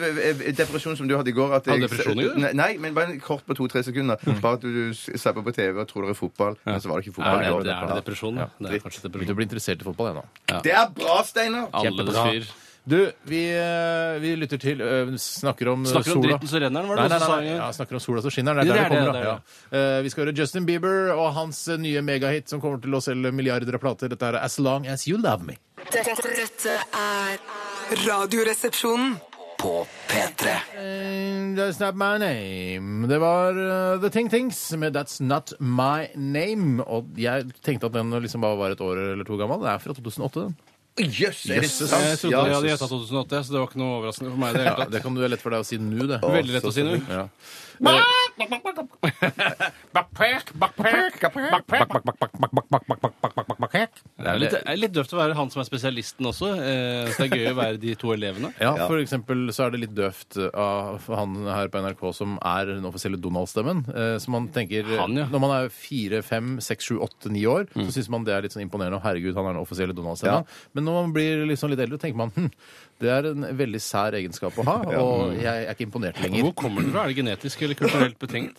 eh, eh, depresjon som du hadde i går. At Hadde jeg- depresjon i går? Nei, Nei, men bare en kort på to-tre sekunder. Bare at du, du zapper på TV og tror det er fotball, men så var det ikke Er fotball i det, går. det er det depresjon? da? Det dritt. er kanskje Begynte depresjon. å bli interessert i fotball, jeg nå. Det er bra, Steinar! Alle Kjempebra. fyr. Du, vi, eh, vi lytter til eh, Snakker om eh, Snakker om sola. dritten så renner den, var Nei, det nei, noen nei, som sa? en gang? Ja, snakker om sola så skinner den. Det er der det Ja, det er kommer det, fra. Ja. Eh, Vi skal høre Justin Bieber og hans eh, nye megahit som kommer til å selge milliarder av plater. Dette er As Long As You Love Me. Dette, dette er Radioresepsjonen. På P3 Eh, That's not my name. Det var eh, The Ting Things med That's Not My Name. Og jeg tenkte at den liksom bare var et år eller to gammel. Den er fra 2008, den. Jøss, er det Jøsses. sant? Jeg trodde Ja, jeg hadde sånn. Jesus. gjetta 2008, så det var ikke noe overraskende for meg. i Det, hele Ja, tatt. det kan du lett for deg å si nå, det. Veldig lett å si nå. Ja. det er litt, er litt døvt å være han som er spesialisten også, eh, så det er gøy å være de to elevene. Ja, for eksempel så er det litt døvt av han her på NRK som er den offisielle Donald-stemmen. eh, Så man tenker Han, ja. Mm. Når man er fire, fem, seks, sju, åtte, ni år, så syns man det er litt sånn imponerende. Og herregud, han er den offisielle Donald-stemmen. Men når man blir liksom litt eldre, tenker man hm, det er en veldig sær egenskap å ha, (laughs) og jeg er ikke imponert lenger. Hvor kommer den fra? Er det genetisk eller kulturelt betinget?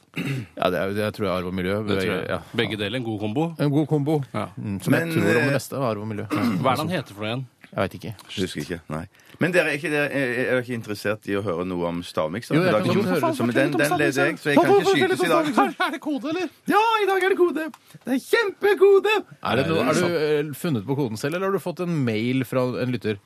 Ja, det, er, det tror jeg er arv og miljø. Det tror jeg. Ja. Begge deler, en god kombo. En god kombo. Ja. Mm, Som Men, jeg tror om eh, det meste av arv og miljø. Hva er det han heter for noe igjen? Jeg veit ikke. Husker ikke. Nei. Men dere er ikke, dere er, er dere ikke interessert i å høre noe om stavmikser? Jo, jeg Da- kan godt høre det. så- Men den, den leder jeg, så jeg kan ikke skytes i dag. Er det kode, eller? Ja, i dag er det kode! Det er kjempekode! Er det noe, Nei, har du sant. eh, funnet på koden selv, eller har du fått en mail fra en lytter?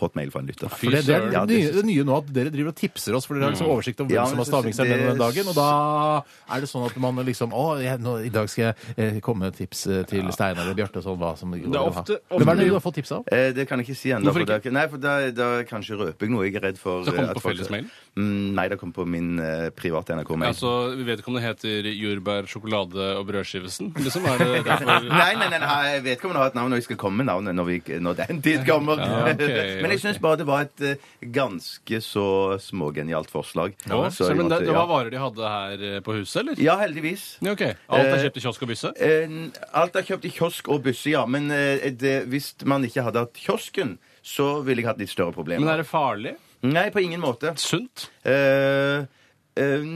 Fått mail fra en lytter. Fy For det, det er søren. Ja, det det nye, synes det nye nå at dere driver og tipser oss, for dere har liksom oversikt over Ja, hvem men som har så synes stavmikseren jeg den og den det- dagen, og da er det sånn at man liksom Å, jeg, nå, i dag skal jeg eh, komme med tips eh, til Steinar og Bjarte og sånn, hva som er ofte- Men hva er det du har fått tips av? Eh, det kan jeg ikke si ennå. for Hvorfor ikke? det er ikke- Nei, for da, da kanskje røper jeg noe. Jeg er redd for Så kommer eh, at det på folk- fellesmailen? Mm, nei, det kommer på min eh, private NRK-mail. Altså, Vedkommende heter jordbær, sjokolade og brødskivesen. Liksom (laughs) er det derfor Nei, nei, nei, nei, jeg vet ikke om det har et navn, og jeg skal komme med navnet når, vi, når den tid kommer. Ja, ok, (laughs) Men jeg syns ok. bare det var et eh, ganske så smågenialt forslag. Å, Så så, jeg men det, måtte- det var ja. varer de hadde her eh, på huset, eller? ja, heldigvis. Ja, ok. Alt er Eh, kjøpt i kiosk og bysse? Eh, alt er kjøpt i kiosk og bysse, ja. Men eh, det, hvis man ikke hadde hatt kiosken, så ville jeg hatt litt større problemer. Men er det farlig? Nei, på ingen måte. Sunt? Eh, eh,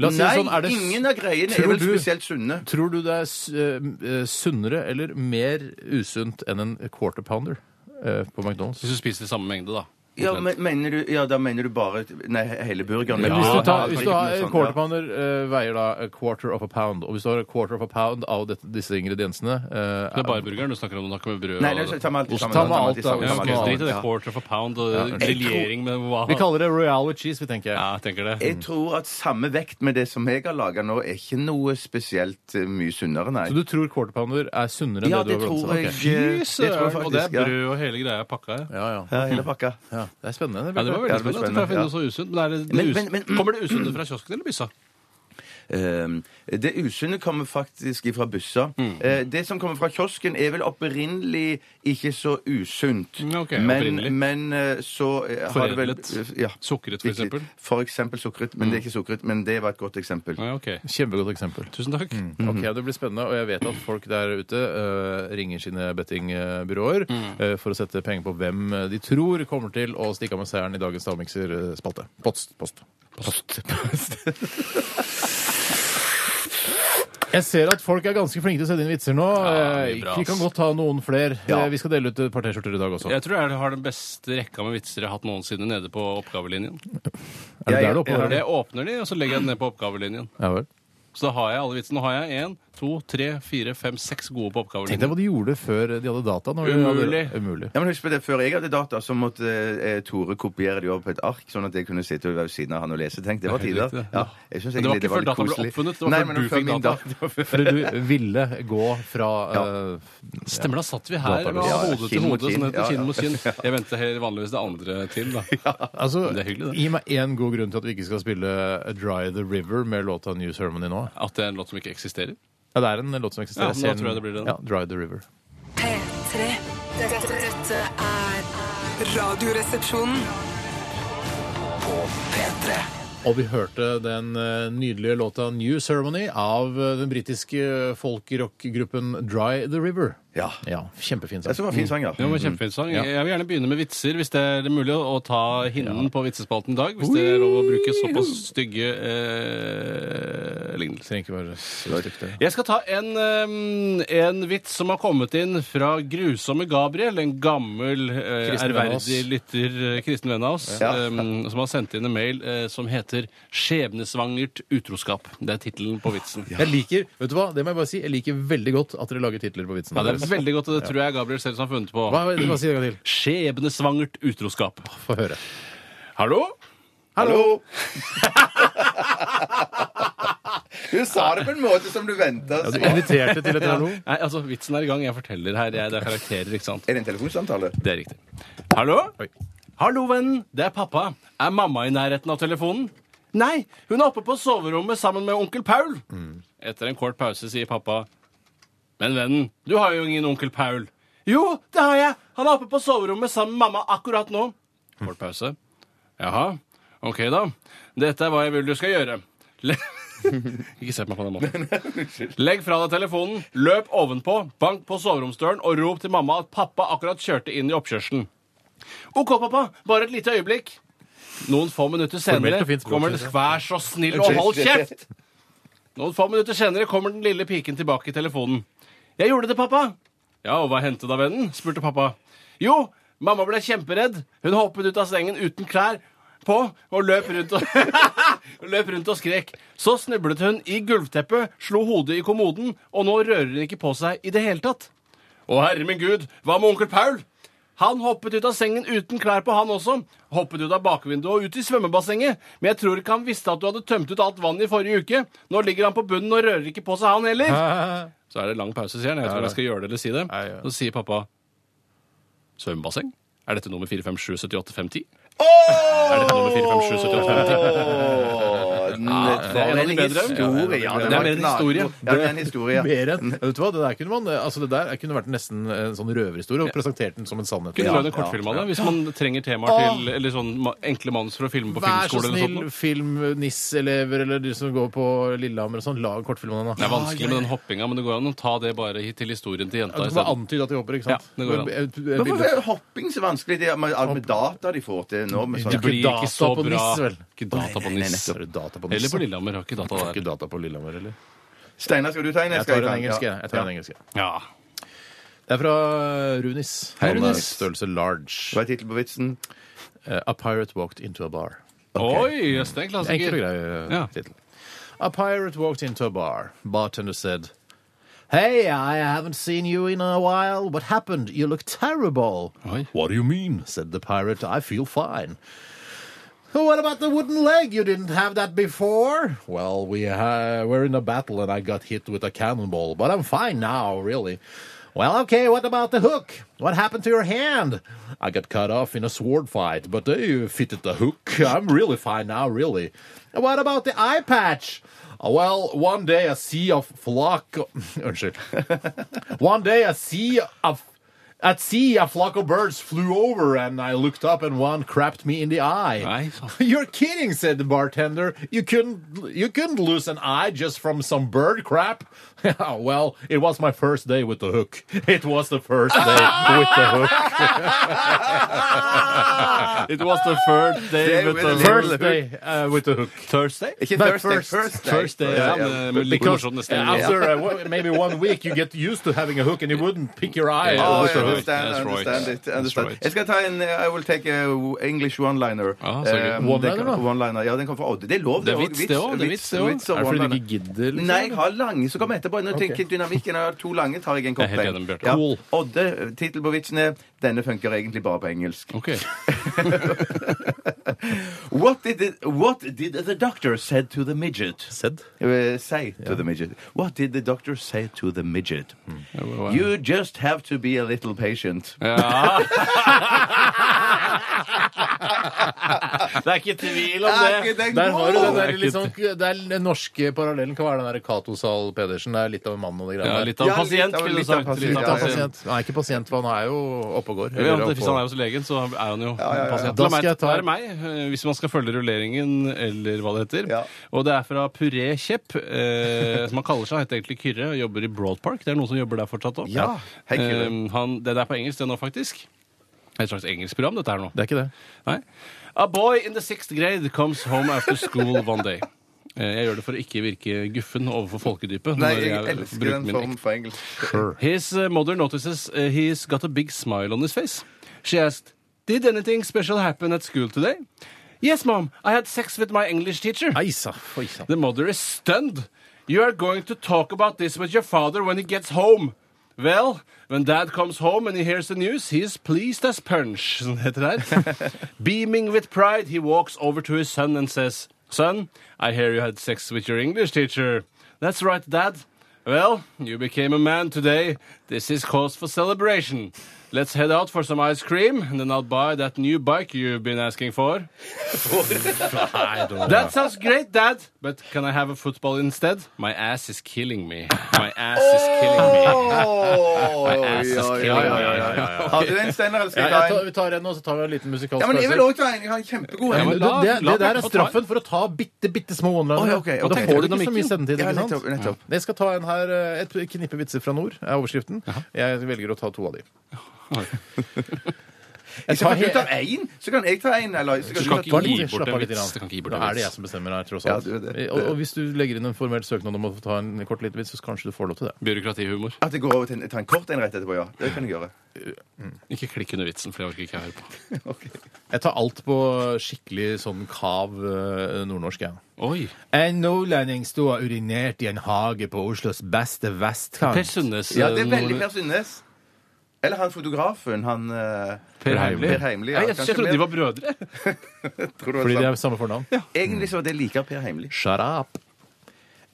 La oss si det nei, sånn, er det s- ingen av greiene er Tror vel du- spesielt sunne. Tror du det er s- eh, m- eh, sunnere eller mer usunt enn en quarter pounder eh, på McDonald's? Hvis du spiser i samme mengde, da. Ja, men, mener du, ja, da mener du bare Nei, hele burgeren. Ja, Hvis du, tar, ja, hvis du sånn, har en ja. quarter pounder, eh, veier da a quarter of a pound. Og hvis du har a quarter of a pound av dette, disse ingrediensene eh, Det er bare burgeren du snakker om. Du snakker med brød Nei, nei, så ta med alt Ost. sammen. Ta med alt, i da. sammen, Ja, ta med alt ok, i Ja. Drit i det sammen. quarter for pound og jeg briljering med hva Vi kaller det royal with cheese, vi tenker. Ja, jeg tenker det. Jeg tror at samme vekt med det som jeg har laga nå, er ikke noe spesielt eh, mye sunnere, nei. Så du tror quarter pounder er sunnere enn Ja, det det du tror har blandet sammen? jeg. Ok. eh, Fy det tror jeg søren! Og det er faktisk, ja. brød og hele greia er pakka. Ja. Ja, ja. Ja, hele pakka. ja. Det er spennende. Ja, det var veldig Ja, det var spennende. at du klarer å finne spennende, noe så usunt. Men er det, det Men- us- men- men- kommer det usunne fra kiosken eller byssa? Ehm, Det usunne kommer faktisk ifra bussa. Mm. Eh, Det som kommer fra kiosken, er vel opprinnelig ikke så usunt. Mm, ok, opprinnelig. men, men eh, så eh, har det vel Foredlet. ja. Sukkeret, for Riktig. eksempel? Mm. For eksempel sukkeret. Men det er ikke sukkeret. Men det var et godt eksempel. Ja, ok. Kjempegodt eksempel. Tusen takk. Mm. Ok, Det blir spennende, og jeg vet at folk der ute øh, ringer sine bettingbyråer Mhm. øh, for å sette penger på hvem øh, de tror kommer til å stikke av med seieren i dagens Stavmikser-spalte. Post, post. Post. Jeg ser at folk er ganske flinke til å sende inn vitser nå. Ja, det Eh, blir bra, Vi kan ass. godt ta noen flere. Ja. Eh, Vi skal dele ut et par T-skjorter i dag også. Jeg tror jeg har den beste rekka med vitser jeg har hatt noensinne nede på oppgavelinjen. Mm. Er det jeg- der du jeg har oppholder deg? Jeg åpner de, og så legger jeg den ned på oppgavelinjen. Ja, vel. Så da har jeg alle vitsene. Nå har jeg én, to, tre, fire, fem, seks gode på Tenk deg oppgavelinjen. hva de gjorde før eh, de hadde data. Når De Umulig. hadde, umulig. Ja, men husk på det, Før jeg hadde data, så måtte eh, Tore kopiere de over på et ark, sånn at jeg kunne sitte ved siden av han og lese. Tenk, det var Det er tider. helt riktig, det. Ja, jeg synes Men det var egentlig ikke før litt data ble koselig. oppfunnet, det var Nei, før men du det var fikk min data. det var før- Fordi du ville gå fra (laughs) øh, Stemmer, da satt vi her med Ja, hode til kinn mot hode, kinn. sånn heter det, Ja, (laughs) ja. kinn mot kinn. Jeg venter helt vanligvis det andre til, da. Altså, Men det er hyggelig, det. Gi meg én god grunn til at vi ikke skal spille eh, Dry The River med låta New Ceremony nå. At det er en låt som ikke eksisterer. Ja, det er en låt som eksisterer. Ja, ser nå tror jeg det blir den. Ja, Dry The River. P3. Dette, dette er Radioresepsjonen. P3 Og vi hørte den eh, nydelige låta New Ceremony av eh, den britiske folkrockgruppen Dry The River. Ja. Ja, Kjempefin Det sang. var en fin sang, ja. Mm. Det var en kjempefin sang. Jeg vil gjerne begynne med vitser, hvis det er mulig å å ta hinnen på vitsespalten i dag. Hvis det er lov å bruke såpass stygge eh, lignelser. Trenger ikke være så stygt, det. Jeg skal ta en, eh, en vits som har kommet inn fra grusomme Gabriel, en gammel, eh, Kristen venn av oss. ærverdig lytter, eh, kristen venn av oss, Ja. eh, som har sendt inn en mail eh, som heter 'Skjebnesvangert utroskap'. Det er tittelen på vitsen. Jeg liker vet du hva, det må jeg bare si, jeg liker veldig godt at dere lager titler på vitsene Ja, det er veldig godt, og det tror jeg Gabriel selv som har funnet på. Hva, hva sier dere til? Skjebnesvangert utroskap. Få høre. Hallo? Hallo! du sa det på en måte som du venta. Ja, du inviterte til et hallo? (laughs) Nei, altså, vitsen er i gang. Jeg forteller her. Jeg, det er karakterer, ikke sant? Er det en telefonsamtale? Det er riktig. Hallo? Hallo, vennen. Det er pappa. Er mamma i nærheten av telefonen? Nei, hun er oppe på soverommet sammen med onkel Paul. Etter en kort pause sier pappa. Men vennen, du har jo ingen onkel Paul. Jo, det har jeg. Han er oppe på soverommet sammen med mamma akkurat nå. Kort pause. Jaha. Ok, da. Dette er hva jeg vil du skal gjøre. Le (laughs) Ikke se på meg på den måten. Legg fra deg telefonen, løp ovenpå, bank på soveromsdøren og rop til mamma at pappa akkurat kjørte inn i oppkjørselen. OK, pappa, bare et lite øyeblikk. Noen få minutter senere og fint språk, kommer synes det jeg. Vær så snill og hold kjeft! Noen få minutter senere kommer den lille piken tilbake i telefonen. Jeg gjorde det, pappa. Ja, og hva hendte da, vennen? spurte pappa. Jo, mamma ble kjemperedd. Hun hoppet ut av sengen uten klær på og løp rundt og, og (laughs) løp rundt og skrek. Så snublet hun i gulvteppet, slo hodet i kommoden, og nå rører hun ikke på seg i det hele tatt. Å, herre min gud, hva med onkel Paul? Han hoppet ut av sengen uten klær på, han også. Hoppet ut av bakvinduet og ut i svømmebassenget. Men jeg tror ikke han visste at du hadde tømt ut alt vannet i forrige uke. Nå ligger han på bunnen og rører ikke på seg, han heller. Så er det lang pause, sier han. Jeg vet ikke om jeg skal gjøre det eller si det. Nei, ja. Så sier pappa svømmebasseng? Er dette nummer 45778510? Er dette nummer 45778510? Det er er en en bedre. historie. Ja, Det er mer en knall- historie. Ja, det er en historie. Mer enn, Ja, vet du hva, det der kunne man altså det der kunne vært nesten en sånn røverhistorie og presentert den som en sannhet. Kunne du lagd en kortfilm av det hvis man trenger temaer til Eller sånn ma- enkle manus for å filme på Vær så filmskole eller snill, noe sånt? filmniss-elever eller de som går på Lillehammer og sånn, lag kortfilm av den. Det da. er vanskelig med den hoppinga, men det går an å ta det bare hit til historien til Ja, jenta. Du kan isteden. bare antyde at de hopper, ikke sant? Ja, det går an. Et- et- et Men bilde. Hvorfor er hopping så vanskelig? Det er med alt med data de får til nå. Med Det sånn. blir ikke så bra. Ikke data på NIS. Er det data på Eller niss? på Lillehammer. Har ikke data Har der. ikke data på Lillehammer heller. Steinar, skal du ta en? Jeg skal tar en ta en? engelsk, Ja. jeg. jeg. tar en engelsk, jeg. Ja. Det er fra Runis. Hei, Han er Runis. Størrelse large. Hva er tittelen på vitsen? Eh, A pirate walked into a bar. Oi, jøss, det er en Enkel og klassiker. grei eh, Ja. tittel. A pirate walked into a bar. Bartender said, Hey, I haven't seen you in a while. What happened? You look terrible. Oi. What do you mean? said the pirate. I feel fine. What about the wooden leg? You didn't have that before? Well, we uh, were in a battle and I got hit with a cannonball, but I'm fine now, really. Well, okay, what about the hook? What happened to your hand? I got cut off in a sword fight, but they fitted the hook. I'm really fine now, really. What about the eye patch? Well, one day a sea of flock. (laughs) oh, Unnskyld. One day a sea of at sea, a flock of birds flew over, and I looked up, and one crapped me in the eye. Nei, sant. (laughs) You're kidding," said the bartender. "You couldn't, you couldn't lose an eye just from some bird crap." (laughs) Oh, well, it was my first day with the hook. It was the (laughs) first day with the hook. (laughs) It was the third day with the First day uh, with the hook. Thursday? Ikke Nei, Thursday. first- Thursday. Thursday, ja, Ja, men- ja. men like Because morsomt neste gang. after uh, w- maybe one week, you get used to having a hook, and you wouldn't pick your eye. Yeah, Oh, with I the right. hook. understand, That's I understand right. it. I understand. right. Jeg skal ta en eh, I will take a English one-liner. Ah, så gøy. Eh, One-liner, det- da? one-liner. Ja, den kom fra Odd. Det er lov, Det er vits, det også. Det er vits, det også. og Er det fordi du one-liner. ikke gidder? Liksom? Nei, jeg har lange som kommer etterpå. Nå tenker jeg dynamikken. Jeg har to lange, tar jeg en Jeg kort er helt en. enig med Bjarte. Ja. Cool. Odde, tittel på vitsen er 'Denne funker egentlig bare på engelsk'. Ok. What did, the, what did the doctor said to the midget? Said. Uh, say to the midget. What did the doctor say to the midget? You just have to be a little patient. Ja. Det er ikke tvil om det. Der har du den der Åh, litt sånn- det er den norske parallellen. Hva er den der Cato Zahl Pedersen? Det er litt av en mann og de Ja, greiene litt der. av Ja, litt pasient, av- ville du litt av sagt. Litt pasient, av ja, ja. pasient. Pasient. Han er ikke pasient, for han er jo oppe og går. Ja, Eller det- Hvis han oppå- er hos legen, så er han jo pasient. Da La meg skal jeg ta- ta meg, eh, hvis man skal følge rulleringen, eller hva det heter. Ja. Og det er fra Puré Kjepp, eh, som han kaller seg. Han heter egentlig Kyrre og jobber i Broad Park. Det er noen som jobber der fortsatt òg. Ja. Hei, Kyrre. han, det er på engelsk, det nå, faktisk. Et slags engelsk program, dette her nå. Det er ikke det. Nei. A boy in the sixth grade comes home after school one day. Eh, Jeg gjør det for å ikke virke guffen overfor folkedypet. Nei, når jeg jeg elsker bruker den min formen for engelsk. His uh, mother notices uh, he's got a big smile on his face. She asked, Did anything special happen at school today? Yes, mom. I had sex with my English teacher. Nei sa, oi sa. The mother is stunned. You are going to talk about this with your father when he gets home. Well, when dad comes home and he hears the news, he's pleased as punch, (laughs) som det heter der. Beaming with pride, he walks over to his son and says, Son, I hear you had sex with your English teacher. That's right, dad. Well, you became a man today. This is cause for celebration. Let's head out for some ice cream, and then I'll buy that new bike you've been asking for. That sounds great, Dad. But can I have a football instead? My ass is killing me. My ass is killing me. Oi, ass is oi, oi, killing oi, oi. me. Har du den, Steinar? eller Skal jeg Ja, jeg ta tar, en? vi tar en, og så tar vi en liten musikalsk Ja, men jeg vil pause. også ta en. Jeg har en kjempegod Ja, en. men men du, la- det, la det der meg er få ta en. straffen for å ta bitte, bitte små Å, one-linere. ja, ok, ok. Da Tenkte får du du ikke så mye dynamikken? sendetid. Ja, ikke nettopp, sant? nettopp. Jeg skal ta en her, eh, et knippe vitser fra nord, er overskriften. Jeg velger å ta to av de. Jeg Hvis jeg tar får he- ut av én, så kan jeg ta en. Eller så Du kan kan du ta ikke to. gi bort Slapp en av litt. vits. Du grann. kan ikke gi bort Nå en er det jeg vits. som bestemmer her, tross Ja, alt. du er det. Og, og hvis du legger inn en formell søknad om å få ta en kort liten vits, så kanskje du får lov til det. Byråkratihumor. At jeg går over til en, tar en kort en rett etterpå, ja. Det kan jeg gjøre. Ikke klikk under vitsen, for det orker ikke jeg høre på. Jeg tar alt på skikkelig sånn kav eh, nordnorsk, jeg. Oi. En nordlending sto og urinerte i en hage på Oslos beste vestkant. Per Sundnes. eh, Ja, det er veldig noe- Per Sundnes. Eller han fotografen, han eh, Per Heimly. Per Heimly, ja, Nei, jeg, jeg kanskje trodde mer. de var brødre. tror du det var Fordi de sant? er samme fornavn? Egentlig så var det likere Per Heimly. Shut up.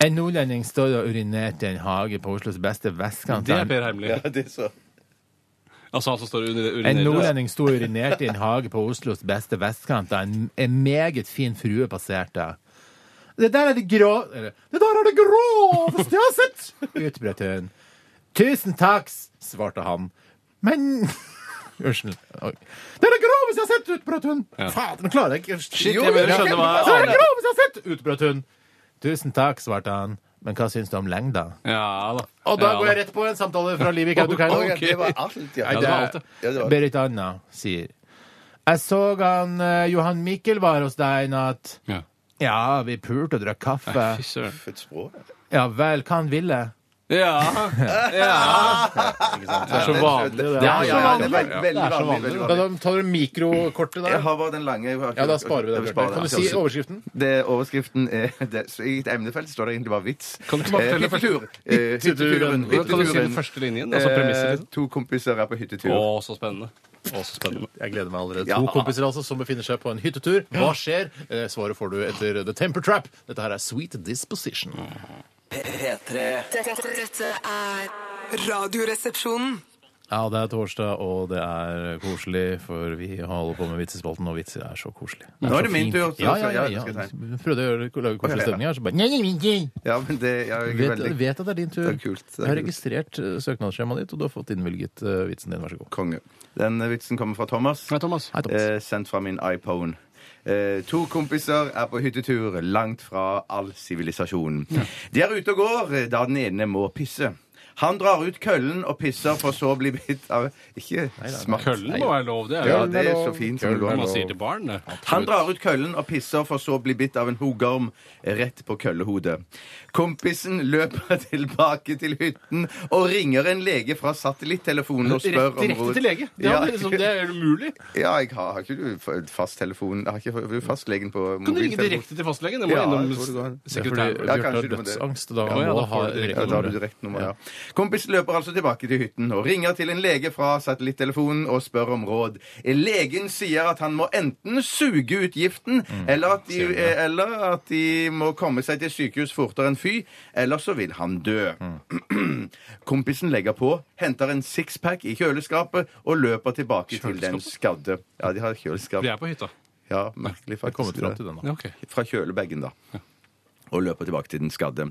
En nordlending står og urinerte i en hage på Oslos beste vestkant. Det er Per Heimly. Ja, det er så. Altså han som står og urine- En urinerer. nordlending sto og urinerte i en hage på Oslos beste vestkant da en, en meget fin frue passerte. Det der er det grå... Eller, det der er det groveste jeg har sett! utbrøt hun. Tusen takk, svarte han. Men (laughs) Unnskyld. Oi. Det er det groveste jeg har sett, utbrøt hun. Fader, nå klarer jeg ikke Shit, jeg mener, skjønner hva Det er Arne- det groveste jeg har sett, utbrøt hun. Tusen takk, svarte han. Men hva syns du om lengda? Ja da. Og da Ja, går jeg rett på en samtale fra livet i Kautokeino. Å, ja, Ok. det var alt, ja. Nei, det Ja, det er var alt, alt, ja. Ja, det var- Berit Anna sier Jeg så han eh, Johan Mikkel var hos deg i natt. Ja. Ja, vi pulte og drakk kaffe. Fy søren. For et språk. Ja vel, hva han ville. Ja. ja. Det er så vanlig, det. Ja, ja, ja, det er Det veld- veldig er så vanlig. vanlig. veldig Da, vanlig. da tar du mikrokortet Jeg der. har bare den lange. jeg har ikke- Ja, da sparer vi det. Bjarte. sparer Kan du det. si overskriften? Det overskriften er det, så I et emnefelt står det egentlig bare vits. Kan du ikke bare Eh, fortelle først- hyttetur, eh, hytteturen, Hvordan Kan du si den hytteturen. første linjen? Altså premisset? Eh, liksom? To kompiser er på hyttetur. Å, så spennende. Å, så spennende. Jeg gleder meg allerede. Ja. To kompiser altså som befinner seg på en hyttetur. Hva skjer? Eh, Svaret får du etter The Temper Trap. Dette her er Sweet Disposition. P3 Dette, dette er Radioresepsjonen. Ja, det er torsdag, og det er koselig, for vi holder på med vitsespalten, og vitser er så koselig. Det Nå er så det min fint. tur, så- Ja, ja, ja. ja, ja. jeg skal ta Jeg Prøvde å gjøre- å lage koselig ja. stemning her, så bare nei, nei, nei, nei. Ja, men det ja, jeg er Vet, veldig vet at det er din tur. Det er kult, det er jeg har kult. registrert eh, søknadsskjemaet ditt, og du har fått innvilget eh, vitsen din. Vær så god. konge. Den eh, vitsen kommer fra Thomas. Nei, Thomas. Hei, Thomas. Eh, sendt fra min iPhone. Eh, to kompiser er på hyttetur langt fra all sivilisasjon. De er ute og går eh, da den ene må pisse. Han drar ut køllen og pisser, for så å bli bitt av Ikke smart. Køllen må være lov, det er Ja, jo det er så fint som det hva man går. sier til barn. det. Han drar ut køllen og pisser, for så å bli bitt av en hogarm rett på køllehodet. Kompisen løper (laughs) tilbake til hytten og ringer en lege fra satellittelefonen og spør om Direkte råd. til lege. Det Ja. er, liksom, det er (laughs) umulig. Ja, jeg har, har ikke du f- fasttelefon Har ikke du fastlegen på Kan du ringe mobiltelefon? direkte til fastlegen? Det må Ja, innom jeg tror det går an. Det er fordi sekretæren. Ja, Bjarte har kanskje du må det. dødsangst, da Ja, ja, må da du ha får du Ja, direkte da har du nummeret. direkte nummer, ja. Kompis løper altså tilbake til hytten og ringer til en lege fra satellittelefonen og spør om råd. Legen sier at han må enten suge ut giften, Mm. eller, at de, eh, eller at de må komme seg til sykehus fortere enn fy, eller så vil han dø. Mm. (clears throat) Kompisen legger på, henter en sixpack i kjøleskapet og løper tilbake til den skadde. Ja, de har kjøleskap. Vi er på hytta. Ja, merkelig Jeg har faktisk. kommet fram til den, da. Ja, (laughs) ok. fra kjølebagen, da. Og løper tilbake til den skadde.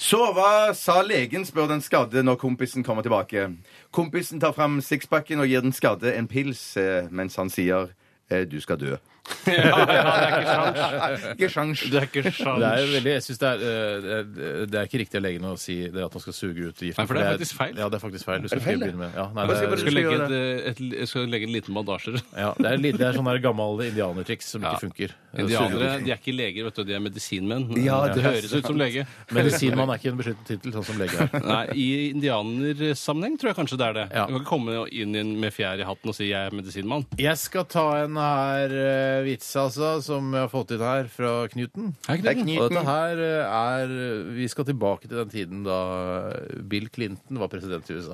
Så hva sa legen, spør den skadde når kompisen kommer tilbake. Kompisen tar fram sixpacken og gir den skadde en pils eh, mens han sier eh, 'du skal dø'. Ikke sjans. Det er ikke Det er jo sjans. veldig, jeg synes det, er, eh, det er- det er ikke riktig av legen å si det at man skal suge ut giften. Nei, for det er faktisk feil. Ja, det er faktisk feil. Du skal feil, ikke det? begynne med ja, nei, Hva skal jeg bare det er- Jeg skal legge, et, eh, et, jeg skal legge en liten bandasje. Ja, det er, litt- det er sånn der gammel indianertriks som Ja. ikke funker. Indianere de er ikke leger, vet du. De er medisinmenn. Ja, det det er høres ut som lege. Medisinmann er ikke en beskyttet tittel, sånn som lege er. Nei, I indianersammenheng tror jeg kanskje det er det. Ja. Du kan ikke komme inn i en- med fjær i hatten og si 'jeg er medisinmann'. Jeg skal ta en her eh, eh, vits altså, som jeg har fått inn her fra Knuten. (laughs) Det er Og dette knyten. her eh, er Vi skal tilbake til den tiden da eh, Bill Clinton var president i USA.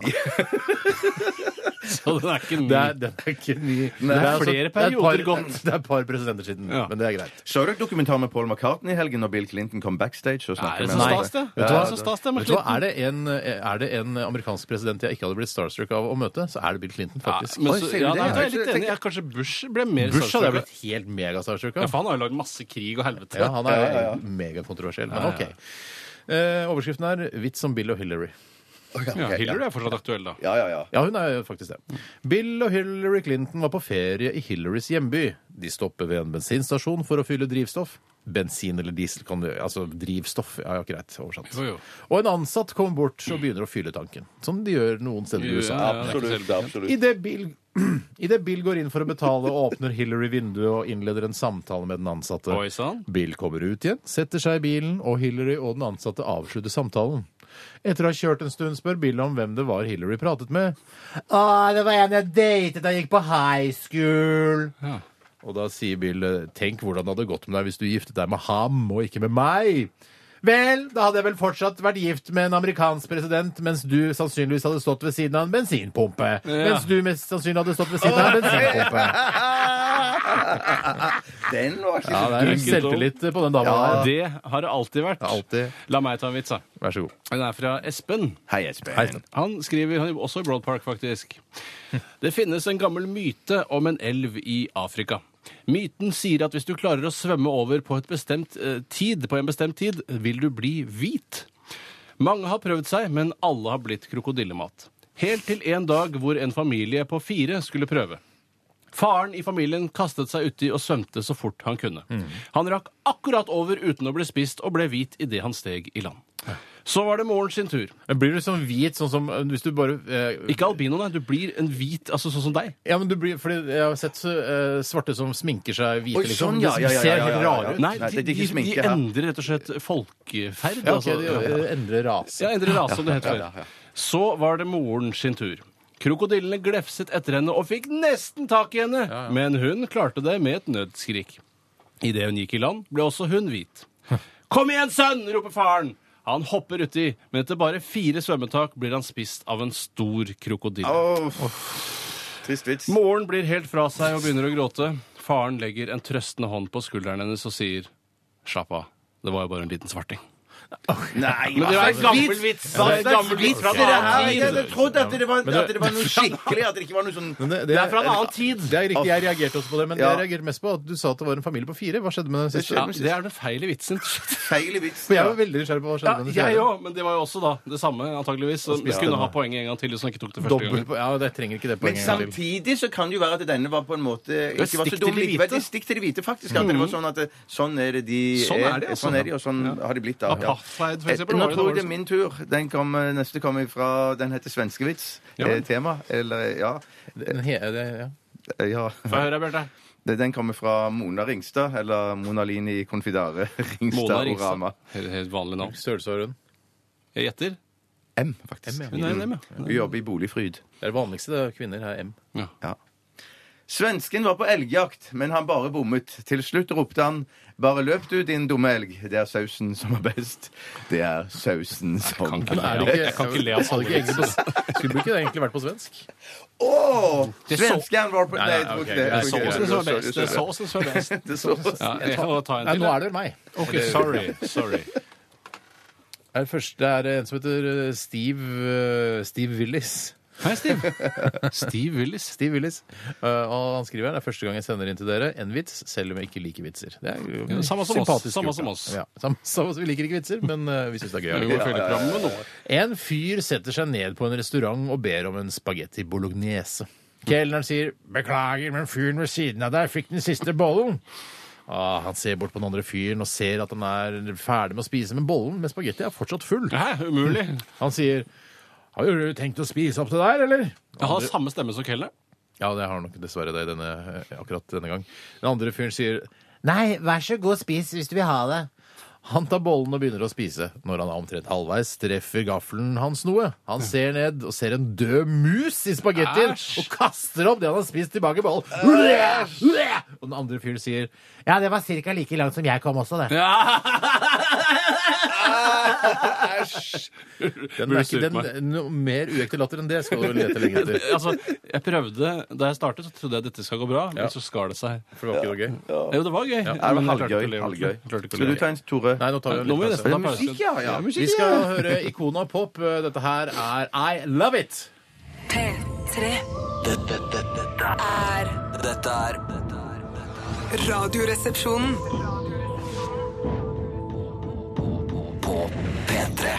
Så den er ikke ny. Det er, det er ikke ny. Det altså- flere det er et par- perioder (laughs) gått. Det er et par presidenter siden, Ja. men det er greit. Så du et dokumentar med Paul McCartney i helgen når Bill Clinton kom backstage og Er snakket det med så ham? stas, det? Ja, Vet du hva? det- Så stas det med Vet du hva, Clinton. er det, en, eh, er det en amerikansk president jeg ikke hadde blitt starstruck av å møte, så er det Bill Clinton, Ja, faktisk. men Oi, så, sier du ja, det? Jeg nei, da er har jeg litt ikke enig. Jeg kanskje Bush ble mer Bush hadde jeg starstruck. blitt helt megastarstruck Ja, av. for han har jo lagd masse krig og helvete. Ja, han er Ja, ja, ja. megakontroversiell, men OK. Eh, overskriften er 'Vits om Bill og Hillary'. Ja, Hillary er fortsatt aktuell, da. Ja, ja, ja. Ja, hun er jo faktisk det. Bill og Hillary Clinton var på ferie i Hillarys hjemby. De stopper ved en bensinstasjon for å fylle drivstoff. Bensin eller diesel kan du Altså drivstoff. Ja, ja, greit. Oversatt. Jo, jo. Og en ansatt kommer bort og begynner å fylle tanken. Som de gjør noen steder i USA. Ja, det er ikke Absolutt. selvbestemt. absolutt. Idet Bill, (clears throat) i det Bill går inn for å betale, åpner Hillary vinduet og innleder en samtale med den ansatte. Oi, sann. Bill kommer ut igjen, setter seg i bilen, og Hillary og den ansatte avslutter samtalen. Etter å ha kjørt en stund spør Bill om hvem det var Hillary pratet med. Å, det var en jeg datet da jeg gikk på high school. Ja. Og da sier Bill, eh, tenk hvordan det hadde gått med deg hvis du giftet deg med ham og ikke med meg. Vel, da hadde jeg vel fortsatt vært gift med en amerikansk president, mens du sannsynligvis hadde stått ved siden av en bensinpumpe. Mens du mest sannsynlig hadde stått ved siden av en bensinpumpe. (laughs) Den var ikke Ja, så det er dum. litt selvtillit på den dama Ja. der. Det har det alltid vært. Alltid. La meg ta en vits, da. Vær så god. Den er fra Espen. Hei, Espen. Han skriver han er også i Broad Park, faktisk. Det finnes en gammel myte om en elv i Afrika. Myten sier at hvis du klarer å svømme over på, et bestemt, eh, tid, på en bestemt tid, vil du bli hvit. Mange har prøvd seg, men alle har blitt krokodillemat. Helt til en dag hvor en familie på fire skulle prøve. Faren i familien kastet seg uti og svømte så fort han kunne. Han rakk akkurat over uten å bli spist, og ble hvit idet han steg i land. Så var det moren sin tur. Men blir du sånn hvit, sånn som eh, hvis du bare eh, Ikke albino, nei. Du blir en hvit, altså sånn som deg. Ja, men du blir Fordi jeg har sett så, eh, svarte som sminker seg hvite, Oi, liksom. sånn, ja, De ja, ja, ser ja, ja, ja. helt rare ut. Nei, Nei, de, det er ikke de, sminke, de ja. endrer rett og slett folkeferd. Ja, ok, altså. de eh, endrer rase. Ja, endrer rase, som det het før. Så var det moren sin tur. Krokodillene glefset etter henne og fikk nesten tak i henne, men hun klarte det med et nødskrik. Idet hun gikk i land, ble også hun hvit. Kom igjen, sønn! roper faren. Han hopper uti, men etter bare fire svømmetak blir han spist av en stor krokodille. Trist vits. Moren blir helt fra seg og begynner å gråte. Faren legger en trøstende hånd på skulderen hennes og sier slapp av, det var jo bare en liten svarting. Nei, Men det var en gammel vits! vits! Det er en gammel vits fra Det en her, annen jeg tid. hadde trodd at det, var, at det var (laughs) noe skikkelig, at det ikke var noe sånn Men Det er fra en annen tid. Det er riktig, jeg reagerte også på det, men Ja. jeg reagerte mest på at du sa at det var en familie på fire. Hva skjedde med den siste? Ja, det er den feile vitsen. feil vits. For jeg var veldig nysgjerrig på hva Ja, (laughs) skjedde med den jeg fjerde. òg, men det var jo også da det samme, antageligvis. Så du kunne ha poenget en gang til hvis hun ikke tok det første Dobbel gangen. på Ja, jeg trenger ikke det Men poenget. en gang til. samtidig så kan det jo være at denne var på en måte ikke var stikk så til dum de likevel. hvite. Mm. Det er Stikk til de hvite, faktisk. At det var sånn at det, sånn er det de Sånn er de, altså. Sånn er de, og sånn har de blitt da. Ja. Eh, Apartheid, for eksempel. Nå var jo tror jeg det dårligste. er min tur. Den kommer- neste kommer fra Den heter svenskevits. Ja. Eh, tema. Eller ja. Den he- det- ja. Eh, ja. (laughs) Få høre, Bjarte. Det- Den kommer fra Mona Ringstad, eller Mona Lini Confidare (laughs) Mona Ringstad Ringstad. Orama. Helt, helt vanlig navn. Størrelse og rund. Jeg gjetter. Mm. M, faktisk. M, Hun er en M, ja. Hun jobber i Boligfryd. Det er det vanligste det er kvinner er M. ja. Svensken var på elgjakt, men han bare bommet. Til slutt ropte han 'Bare løp du, din dumme elg. Det er sausen som er best.' Det er sausen som Kan ikke er le av- Jeg kan ikke le av Hadde sånne ikke egentlig vitser. på- Skulle ikke det egentlig vært på svensk? Åh! Det er Svensken var på Nei, Nei, nei, jeg tror ok, ikke det. Det er Jeg tror ikke såsen som Sorry, er best. Det er sorry. såsen som er best. Det er såsen. Ja, jeg får ta en Nei, til. nå er det meg. Ok, sorry. Det sorry. er, først, det er en som heter eh, Steve, eh, Steve Willis. Hei, Steve. (laughs) Steve (laughs) Willis. Steve Willis. Eh, og han skriver her, det er første gang jeg sender inn til dere en vits, selv om jeg ikke liker vitser. Det er jo Ja, samme som oss. sympatisk Samme gjort, som da. oss. Ja, samme som oss. Vi liker ikke vitser, men eh, vi syns det er gøy. Vi må følge programmet med noe. En fyr setter seg ned på en restaurant og ber om en spagetti bolognese. Kelneren sier 'Beklager, men fyren ved siden av deg fikk den siste bollen'. Ah, han ser bort på den andre fyren og ser at han er ferdig med å spise, men bollen med spagetti er fortsatt full. Hæ, umulig. Han sier 'Har du tenkt å spise opp det der, eller?' Jeg har samme stemme som (laughs) Keller. Ja, det har nok dessverre det denne, eh, akkurat denne gang. Den andre fyren sier Nei, vær så god, spis hvis du vil ha det. Han tar bollen og begynner å spise. Når han er omtrent halvveis, treffer gaffelen hans noe. Han ser ned og ser en død mus i spagettien Æsj! og kaster opp det han har spist tilbake i bollen. Og den andre fyren sier Ja, det var cirka like langt som jeg kom også, det. Æsj! Den er ikke den, noe mer uekte latter enn det skal du vel lete lenge etter. altså, jeg prøvde, Da jeg startet, så trodde jeg dette skal gå bra, men så skar det seg. For det var ikke noe gøy. Jo, det var gøy. Er det men jeg klarte halvgøy? ikke å leve. halvgøy? Klarte ikke å Skal du leve. ta en, Tore? Nei, nå tar vi en Nå må vi liten nesten pause. ta pause. Musikk, ja, ja. Vi skal høre Ikona Pop. Dette her er I Love It. P3 Dette, dette, dette er er Dette er dette er- Radioresepsjonen. På P3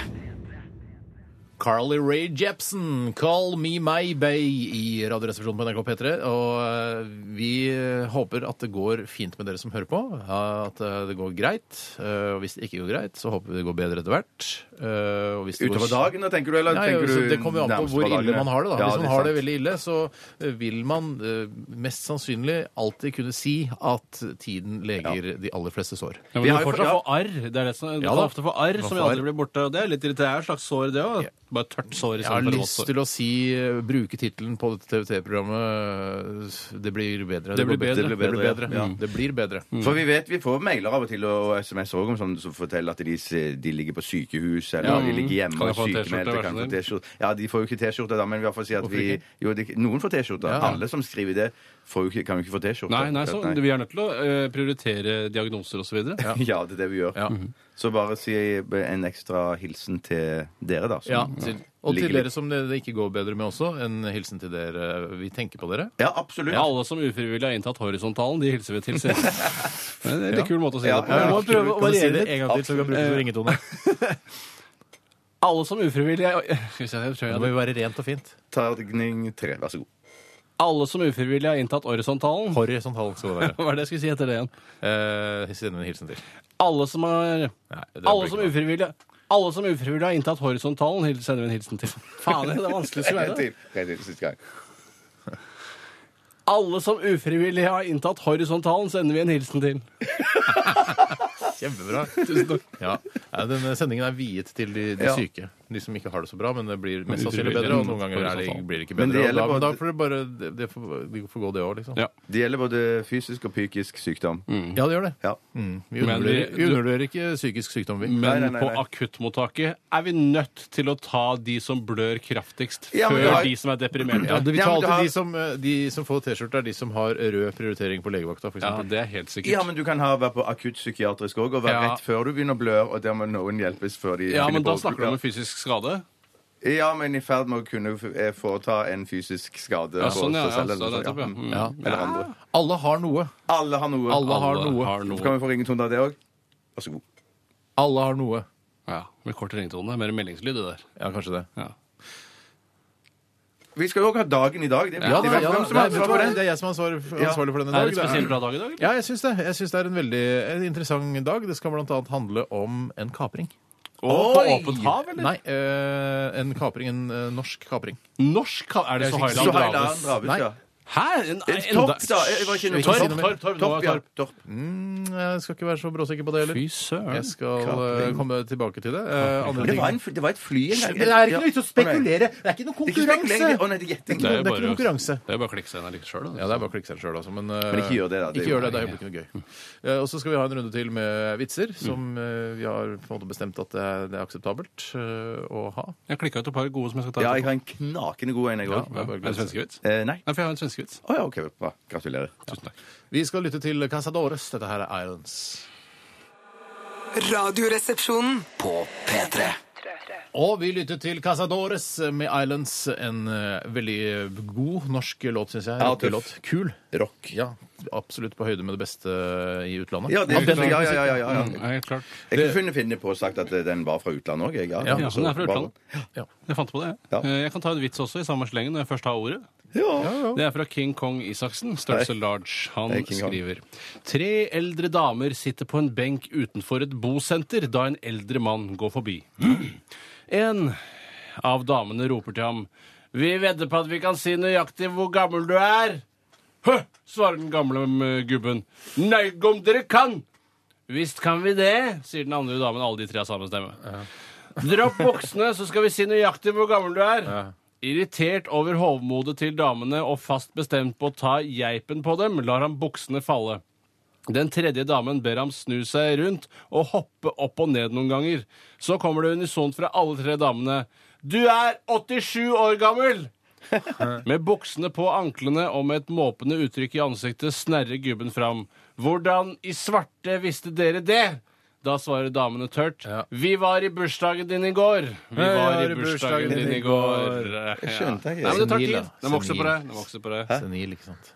Carly Rae Jepsen, 'Call Me My Bay' i Radioresepsjonen på NRK P3. Og eh, vi eh, håper at det går fint med dere som hører på. eh, At eh, det går greit. Eh, Og hvis det ikke går greit, så håper vi det går bedre etter hvert. Eh, Og hvis det går Utover dagen, da, tenker du? Eller Nei, tenker altså, du det kommer jo an på nærmest hvor dagen, ille man har det. da. Ja, Hvis man er har det sant. veldig ille, så eh, vil man eh, mest sannsynlig alltid kunne si at tiden leger de aller fleste sår. Ja, Vi men har du jo fortsatt fått- få arr. Det er det som, du Ja, kan da. ofte få arr Man som får aldri arr. blir borte. og Det er litt irriterende. Det er et slags sår, det òg. Bare tørt sår. i Jeg har stedet for lyst vått sår. til å si eh, bruke tittelen på dette TVT-programmet eh, Det blir bedre. Det blir går bedre. Det blir bedre. Mm. Ja. Det blir bedre. Mm. For vi vet vi får mailer av og til og SMS også, om sånne som forteller at de, s- de ligger på sykehus eller Ja, de ligger hjemme kan jeg og få en sykemeldte. T-skjorte, kan vær så få T-skjorte. Ja, de får jo ikke T-skjorte, da, men i hvert fall si at Hvorfor vi ikke? jo, de, Noen får T-skjorte. Ja. Alle som skriver det, får jo ikke, kan jo ikke få T-skjorte. Nei, nei, så vi er nødt til å eh, prioritere diagnoser osv. Ja. Ja, det er det vi gjør. Ja. Så bare si en ekstra hilsen til dere, da. som Mm. Ja, til, og til ligger litt- dere som det det ikke går bedre med også, en hilsen til dere. Vi tenker på dere. Ja, absolutt. Ja, alle som ufrivillig har inntatt horisontalen, de hilser vi til. Selv. (laughs) Det er en litt kul måte å si Ja, det ja, på. ja. må prøve å Kan du si variere det litt. En gang til, så vi kan bruke det som ringetone. Alle som ufrivillig (laughs) Skal vi se, jeg tror jeg Det må jo være rent og fint. Terning tre, vær så god. Alle som ufrivillig har inntatt horisontalen (laughs) Horisontal sånn skal det være. Hva er det jeg skulle si etter det igjen? Eh, Send en hilsen til. Alle som har Nei, det blir Alle som ikke bra. ufrivillig alle som ufrivillig har inntatt horisontalen, hil- sender vi en hilsen til. (laughs) Faen, det er vanskelig å En være. til. En til, siste gang. Alle som ufrivillig har inntatt horisontalen, sender vi en hilsen til. Kjempebra. Tusen takk. Ja. Ja, denne sendingen er viet til de, de Ja. syke. De som ikke har det så bra, men det blir mest sannsynlig Utrolig. bedre. Og noen ganger er det, blir det ikke bedre. Men det og gjelder da, bare men da at- får det bare det, det får, det får gå, det òg, liksom. Mm. Ja. Det gjelder både fysisk og psykisk sykdom. Ja, det gjør det. Ja. Mm. Vi Men vi- undervurderer vi undervurderer ikke psykisk sykdom, vi. Men Nei, nei, nei, på nei. akuttmottaket er vi nødt til å ta de som blør kraftigst, Ja, men før det har- de som er deprimerte. Ja, Ja, det, vi Ja, tar men du alltid har- de, som, eh, de som får T-skjorte, er de som har rød prioritering på legevakta, f.eks. eksempel det er helt sikkert. Ja, men du kan ha, være på akuttpsykiatrisk òg, og være Ja. rett før du begynner å blø, og der må noen hjelpes før de Ja, finner men da på- snakker du om en fysisk skade. Ja, men i ferd med å kunne f- eh, foreta en fysisk skade Ja, sånn, ja. på seg ja, selv. så eller noe nettopp, ja. sånt, Mm. Ja. Eller andre. Alle har noe. Alle har noe. Alle har Alle noe. har noe. Kan vi få ringetone av det òg? Vær så god. Alle har noe. Ja, Med kort ringetone. Mer meldingslyd, det der. Ja, kanskje det. Ja. Vi skal jo òg ha dagen i dag. Det er Ja, viktig. da, ja, Hvem da. som har Nei, vet ansvar du hva? for den? Det er jeg som er ansvarlig for, Ja. ansvarlig for denne Er det en dag. spesielt bra dag i dag? eller? Ja, jeg syns det. Jeg synes det er en veldig en interessant dag. Det skal bl.a. handle om en kapring. Og på Oi! åpent hav, eller? Nei, eh, en kapring, en eh, norsk kapring. Norsk hav? Er det så Så Hailand har jeg da Draves? en Draves, Nei. ja. Hæ? En, En enda- Torp, da. Jeg var ikke noe Ikke si Torp. noe mer. Torp, Torp, Torp, ja. Torp. Torp. Mm, jeg skal ikke være så bråsikker på det heller. Fy søren. Jeg skal eh, Kapring. komme tilbake til det. Eh, andre Det ting var, en, f- det var et fly en gang. Det er ikke noe vits å Å, nei. spekulere. Det er ikke noe Det er ikke spekulering. konkurranse. Å nei, det er gjetting. Det Det er jo er ikke noe bare, konkurranse. det er bare å klikke seg inn litt sjøl, Ja, da. det er bare å klikke seg selv, altså. Men, eh, Men ikke gjør det, da. Det er jo- ikke gjør det, det er jo ikke noe gøy. (laughs) Eh, og så skal vi ha en runde til med Mm. vitser, som eh, vi har på en måte bestemt at det er, det er akseptabelt eh, å ha. Jeg klikka ut et par gode som jeg skal ta. Ja, jeg etterpå. har en knakende god en, jeg Ja, òg. er det en svenskevits? Eh, nei. Nei, for jeg har en svenskevits. Å ja, OK. Bra. Gratulerer. Tusen takk. Vi skal lytte til Casadores. Dette her er Islands. Radioresepsjonen. På P3 Og vi lytter til Casadores med Islands. En eh, veldig god norsk låt, syns jeg. Ja, Rockelåt. tøff. Kul. Rock. Ja, absolutt på høyde med det beste i utlandet. Ja, det, Av den ja, ja, type ja, ja, ja. Mm, ja, helt klart. Jeg kunne finne på å sagt at eh, den var fra utlandet òg. Ja, Ja, den er fra utlandet. Ja. Jeg fant på det. jeg. Ja. Eh, Jeg kan ta en vits også i samme slengen når jeg først har ordet. Ja. Det er fra King Kong Isaksen, størrelse large. Han Hei, King Kong. skriver Tre eldre damer sitter på en benk utenfor et bosenter da en eldre mann går forbi. (clears throat) En av damene roper til ham Vi vedder på at vi kan si nøyaktig hvor gammel du er. Hø, svarer den gamle mm, gubben. Nøyg om dere kan! Visst kan vi det, sier den andre damen. Alle de tre har samme stemme. Dropp buksene, så skal vi si nøyaktig hvor gammel du er. Irritert over hovmodet til damene og fast bestemt på å ta geipen på dem, lar han buksene falle. Den tredje damen ber ham snu seg rundt og hoppe opp og ned noen ganger. Så kommer det unisont fra alle tre damene. Du er 87 år gammel! (laughs) Med buksene på anklene og med et måpende uttrykk i ansiktet snerrer gubben fram. Hvordan i svarte visste dere det? Da svarer damene tørt. Vi var i bursdagen din i går. Vi var i bursdagen din i går. Jeg skjønte ikke. Nei, men det tar Senil, tid. da. Den vokser på Senil. deg. Den vokser på deg. Senil, ikke sant.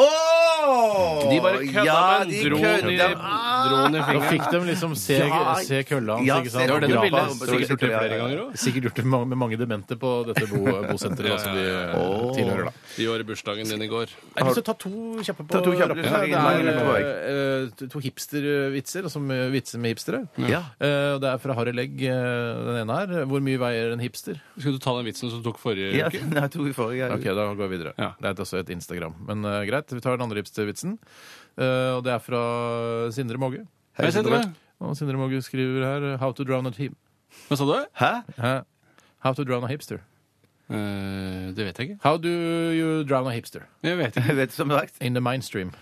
Åh! De bare kødda, ja, men de dro den i, kødda. dro Ah! den i Da fingeren. fikk de liksom se, se kølla hans, Ja, se ikke sant? det var det du Grafa. ville. Sikkert gjort det flere ganger. også. Sikkert gjort det ma- med mange demente på dette bo (laughs) bosenteret da, som de eh, tilhører, da. De var i bursdagen din i går. Jeg har lyst til å ta to kjappe på Ta to kjappe, rappen. snakk Det innmari er lenge på eh, eh, to hipstervitser, altså med- vitser med hipstere. Ja. Eh, og Det er fra Harry Legg, eh, den ene her. Hvor mye veier en hipster? Skulle du ta den vitsen som du tok forrige Ja, uke? nei, to i forrige. Ok, da går jeg videre. Ja. Det er altså et Instagram. Men eh, greit, vi tar den andre hipstervitsen. Eh, og det er fra Sindre Måge. Hei, Sindre. Og Sindre Måge skriver her eh, How to drown a hip... Hva sa du? Hæ? Hæ? How to drown a hipster. Eh, det vet jeg ikke. How do you drown a hipster? Jeg vet ikke. Jeg vet som sagt. In the mainstream.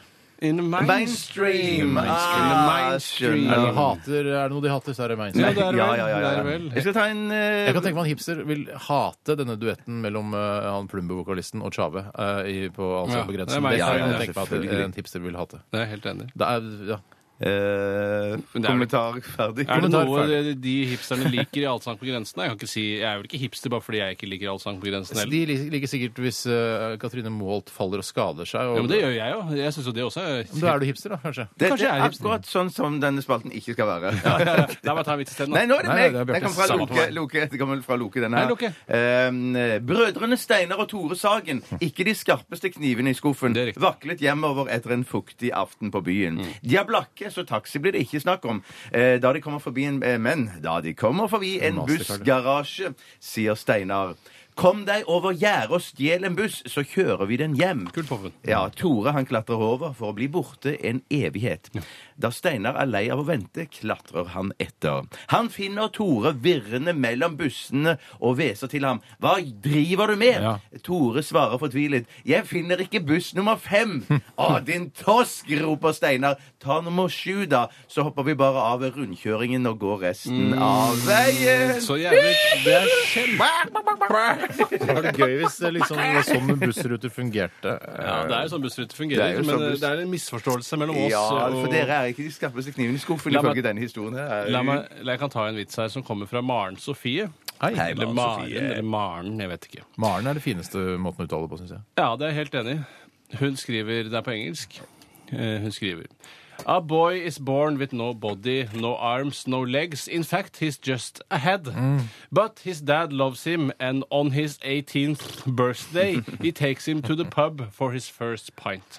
In the Mainstream. Mainstream. Ah, Mainstream. skjønner. Er det, noe hater, er det noe de hater, så er det Ja, mainstream. det er vel. Ja, ja, ja, ja. Det er vel. Jeg skal ta en eh, Jeg kan tenke meg en hipster vil hate denne duetten mellom eh, han Plumbo-vokalisten og Tjave eh, i- på Altså Ja, på det er grensen. meg. Det kan Ja, jeg ja, tenke meg at selvfølgelig. en hipster vil hate. Det er jeg helt enig. i. Det er, ja. eh, Men det er- kommentar ferdig. Er det Kommentar noe ferdig. de- de hipsterne liker i Allsang på grensen? Jeg kan ikke si, jeg er vel ikke hipster bare fordi jeg ikke liker Allsang på Altså, grensen De heller. lik- liker sikkert hvis eh, Katrine Moholt faller og skader seg. Og, Ja, men det gjør jeg jo. Jeg syns jo det også er (laughs) Men Da er du hipster, da, kanskje. Dette Kanskje jeg er er hipster. akkurat sånn som denne spalten ikke skal være. La meg ta en vits isteden. (laughs) Nei, da. nå er det Nei, meg! det er Bjarte. Den kommer fra Samme Loke. Loke. Den kommer fra Loke, denne Hei, her. Loke. Eh, brødrene Steinar og Tore Sagen, ikke de skarpeste knivene i skuffen, Det er riktig. vaklet hjemover etter en fuktig aften på byen. De er blakke, så taxi blir det ikke snakk om. Eh, da de kommer forbi en eh, Men da de kommer forbi en Mastercard. bussgarasje, sier Steinar. Kom deg over gjerdet og stjel en buss, så kjører vi den hjem. Kult påfunn. Ja, Tore han klatrer over for å bli borte en evighet. Da Steinar er lei av å vente, klatrer han etter. Han finner Tore virrende mellom bussene og hveser til ham. Hva driver du med? Ja. Tore svarer fortvilet. Jeg finner ikke buss nummer fem. Å, din tosk, roper Steinar. Ta nummer sju, da. Så hopper vi bare av ved rundkjøringen og går resten av veien. Så jævlig Det er kjempe... Det var gøy hvis det liksom var sånn bussruter fungerte. Ja, det er jo sånn bussrute Eh, fungerer, Det er jo men sånn buss. det er en misforståelse mellom oss Ja, og for dere er ikke de skarpeste knivene i skuffen La meg- ifølge denne historien. her. La meg, la jeg kan ta en vits her som kommer fra Maren Sofie. Hei. Eller Maren, Maren-Sofie. eller Maren, jeg vet ikke. Maren er det fineste måten å uttale på, syns jeg. Ja, det er jeg helt enig. i. Hun skriver Det er på engelsk. Eh, Hun skriver A boy is born with no body, no arms, no legs. In fact, he's just a head. Mm. But his dad loves him, and on his 18th birthday, he takes him to the pub for his first pint.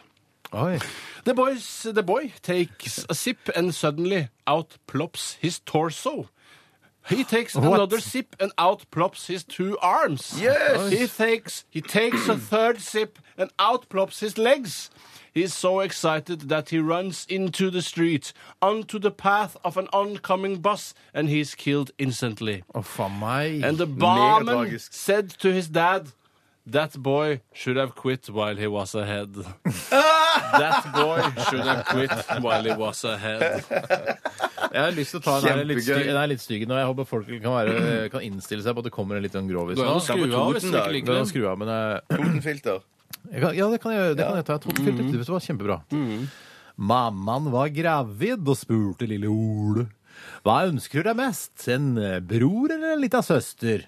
Oi. The, boys, the boy takes a sip, and suddenly out plops his torso. He takes another sip, and out plops his two arms. Yes! He takes, he takes a third sip, and out plops his legs. He is so excited that he runs into the street, onto the path of an oncoming bus, and he is killed instantly. Å, faen meg. And the barman said to his dad, That boy should have quit while he was (laughs) ahead. that boy should have quit while he was ahead. Jeg har lyst til å ta en her, litt Kjempegøy. styg, den er litt stygg nå. Jeg håper folk kan, være, kan innstille seg på at det kommer en litt sånn grovis Du nå. kan skru av hvis du ikke Det liker er å det. skru av, men jeg, Totenfilter. jeg kan, Ja, det kan jeg, det kan jeg ta. Jeg tok filter. Mm. Det var kjempebra. Mammaen var gravid og spurte lille Ole. Hva ønsker du deg mest? En eh, bror eller en lita søster?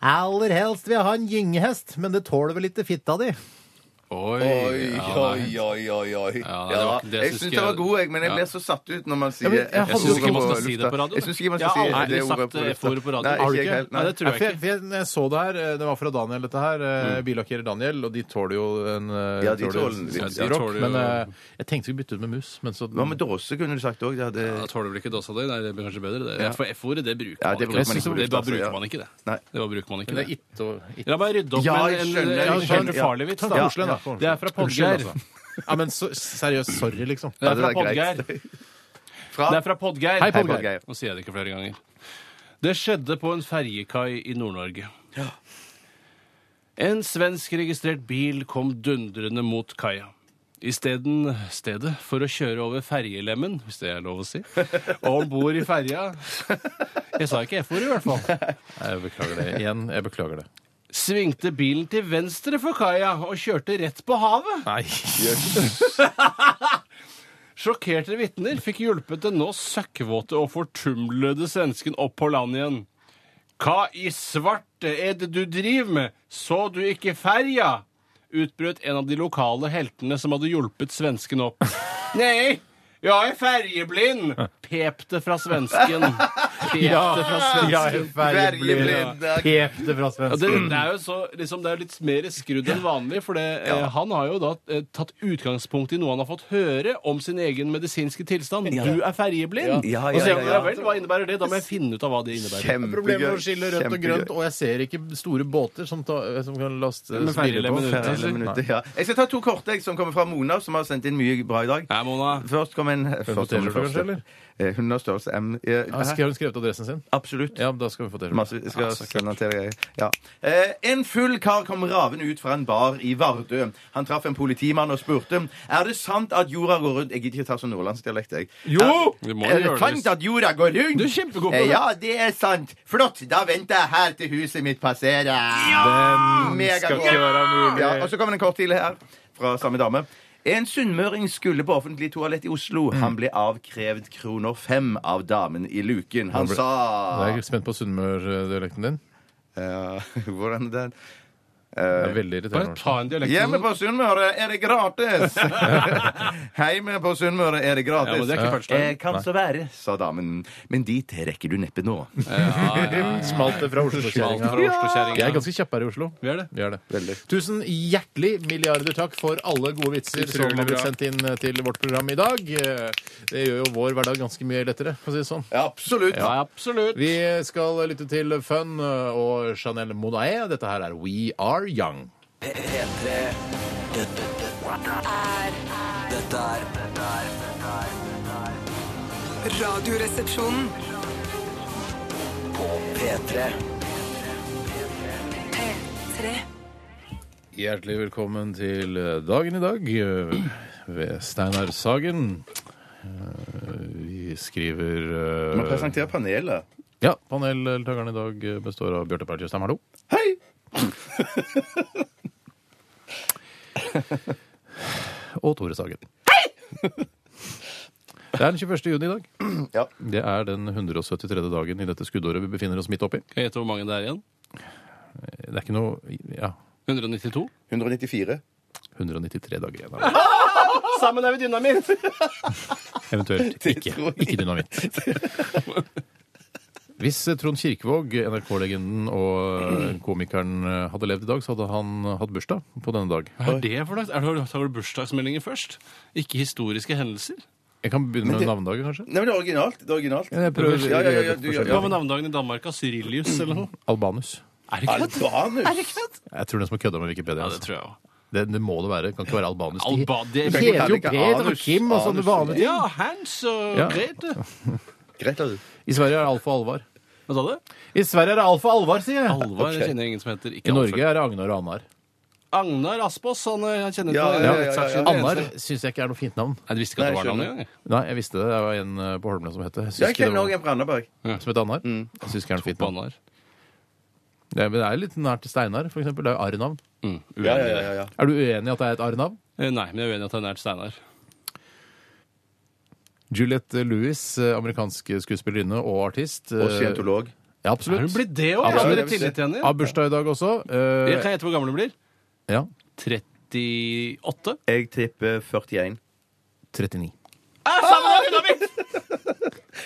Aller helst vil jeg ha en gyngehest, men det tåler vel ikke fitta di. Oi, oi, oi, oi, oi. det var ikke det jeg jeg synes syns det var jeg- god, jeg, men jeg Ja. ble så satt ut når man sier men jeg F-ordet hadde jo ikke- man skal på si det lufta. på radio. Jeg syns ikke man skal Jeg har si aldri det sagt ordet på lufta. F-ordet på radio. Nei, Har ikke du jeg ikke? helt. Nei, Nei. det tror jeg for jeg, for jeg, når jeg så det her, eh, det var fra Daniel dette her, mm. billakkerer Daniel, og de tåler jo en eh, Ja, de tåler tåler litt, en ja. rock, tåler jo- Men eh, jeg tenkte vi bytte ut med mus, men så (laughs) Hva med dåse, kunne du sagt òg? Det hadde Da tåler du vel ikke dåsa di? Nei, det blir kanskje bedre. Det. For F-ordet, det bruker Ja, man det ikke. bruker man ikke på Det lufta, bare altså, ja. bruker man ikke, det. Nei. Det bare bruker man ikke. Men det er Det. it og it. La meg rydde opp Ja, med jeg en, en, skjønner, en, jeg skjønner, ja. farlig vits. Ta Da. koselig en, da. Det er fra Unnskyld, Podgeir. altså. Ja, men så, seriøst, sorry, liksom. Det Ja, er det fra er greit. Podgeir. Fra Det er fra Podgeir. Hei, Podgeir. Podgeir. Nå sier jeg det ikke flere ganger. Det skjedde på en ferjekai i Nord-Norge. En svenskregistrert bil kom dundrende mot kaia. Isteden stedet for å kjøre over ferjelemmen, hvis det er lov å si, og om bord i ferja Jeg sa ikke F-ordet, i hvert fall. Jeg beklager det. Igjen, jeg beklager det. Svingte bilen til venstre for kaia og kjørte rett på havet. Nei. (laughs) Sjokkerte vitner fikk hjulpet den nå søkkvåte og fortumlede svensken opp på land igjen. Hva i svarte er det du driver med? Så du ikke ferja? utbrøt en av de lokale heltene som hadde hjulpet svensken (laughs) opp. Nei, jeg er ferjeblind! pep det fra (laughs) svensken. Pep det fra Ja, svensken. jeg er Ferjeblind. ferjeblind. Helt det fra Ja, det, svensken. det er jo så, liksom, det er jo litt mer skrudd enn vanlig, for det, eh, han har jo da eh, tatt utgangspunkt i noe han har fått høre om sin egen medisinske tilstand. Du er ferjeblind! Ja, ja, og så, ja, sier han, ja. vel, hva innebærer det? Da må jeg finne ut av hva det innebærer. Problemet med å skille rødt og Kjempegøy. grønt, og jeg ser ikke store båter som, ta, som kan laste Med spille på. ferjelemmen ute, altså. Fem minutter, ja. Jeg skal ta to korte jeg, som kommer fra Mona, som har sendt inn mye bra i dag. Nei, Mona. Først kom en først kom den T-skjorte, kanskje, første. eller? Eh, Hun har størrelse M. Eh, Ja, skal- Har hun skrevet adressen sin? Absolutt. Ja, da skal vi få T-skjorte. Masse, jeg skal Ah, sende den til deg. Ja. Eh, en full kar kom ravende ut fra en bar i Vardø. Han traff en politimann og spurte Er det sant at jorda går rundt Jeg gidder ikke ta sånn nordlandsdialekt, jeg. Jo! Er, Vi må er det gjøre det sant hvis- at jorda går rundt? Du er kjempegod på Eh, det. Ja, det er sant. Flott. Da venter jeg her til huset mitt passerer. Ja! Megagod. ikke være mulig. Ja, og så kommer det en kort til her fra samme dame. En sunnmøring skulle på offentlig toalett i Oslo. Han ble avkrevd kroner fem av damen i luken. Han ble- sa Jeg er spent på sunnmørdialekten din. ja, Eh, (laughs) hvordan er den? Det er veldig Bare irriterende. ta en dialekt. Hjemme på Sunnmøre er det (laughs) gratis! Hjemme på Sunnmøre er det gratis. Ja, men det er ikke første gang. Eh, kan så være, sa damen. Men dit rekker du neppe nå. Smalt det fra Smalt fra Oslo-kjerringa. Vi er Oslo-kjerringa. ganske kjappe her i Oslo. Vi er det. Vi er det. Veldig. Tusen hjertelig milliarder takk for alle gode vitser Utrolig som har blitt bra. sendt inn eh, til vårt program i dag. Eh, Det gjør jo vår hverdag ganske mye lettere, for å si det sånn. Ja, absolutt. Ja, absolutt. Vi skal lytte til Fun eh, og Chanel Monae. Dette her er We Are Young. P3 Dette, dette, dette er Dette er dette er Radioresepsjonen. På P3 P3. Hjertelig velkommen til dagen i dag eh, ved Steinar Sagen. Eh, Vi skriver eh, Vi presenterer panelet. Ja, paneldeltakerne i dag består av Bjarte Perl Tjøstheim, hallo. Hei! (laughs) Og Tore Sagen. (laughs) Det er den 21. juni i dag. (clears throat) Ja. Det er den 173. dagen i dette skuddåret vi befinner oss midt oppi. Skal jeg gjette hvor mange det er igjen? Det er ikke noe Ja, 192? 194. 193 dager (laughs) igjen. av det. Sammen er vi dynamitt! Eventuelt ikke. Ikke dynamitt. Hvis eh, Trond Kirkevåg, NRK-legenden og komikeren, eh, hadde levd i dag, så hadde han hatt bursdag på denne dag. Hva er det for dags? Er det, tar du bursdagsmeldinger først? Ikke historiske hendelser? Jeg kan begynne det- med navnedagen, kanskje? Nei, men det er originalt. Det er originalt. Ja, jeg prøver- ja, ja, ja, du, ja, Hva med navnedagen i Danmark? av Cyrilius eller noe? Albanus. Er det ikke det? Albanus! Jeg tror den som har kødda med Wikipedia. Ja, altså. det tror jeg også. Det, det må det være. Det kan ikke være albanus. De Alba, det- heter jo Ikke Peter og anus. Kim og sånne Anus. vanlige ting. Ja, Hans og Ja. Grete. Gretel. I Sverige er det Alf og Alvar. Hva sa du? I Sverige er det Alf og Alvar, sier jeg. Alvar Ok. jeg kjenner ingen som heter ikke I Alfred. Norge er det Agnar og Anar. Agnar Aspaas, han, eh, han kjenner Ja, ikke ja, noe. ja, ja, ja. Det er Anar eneste- syns jeg ikke er noe fint navn. Nei, du visste ikke at Nei, det var jeg navnet skjønner. engang? Nei, jeg visste det. Det var en eh, på Holmlia som het det. Jeg syns Jeg ikke det kjenner var- òg en fra Randaberg. Som het Anar. Mm. Jeg syns ikke det er noe fint På navn. Anar. Det er, men det er litt nært til Steinar, for eksempel. Det er jo Arnav. Mm, uenig Ja, i ja, det. ja, ja. Er du uenig i at det er et Arnav? Eh, Nei, men jeg er uenig i at han er et Steinar. Juliette Lewis, eh, amerikansk skuespillerinne og artist. eh, Og scientolog. Ja, Er hun absolutt. blitt det òg? Ja, det Ja, dere vil si. tillit til henne? Har bursdag i dag også. eh, Jeg kan gjette hvor gammel hun blir. ja. 38? Jeg tipper 41. 39. Ah,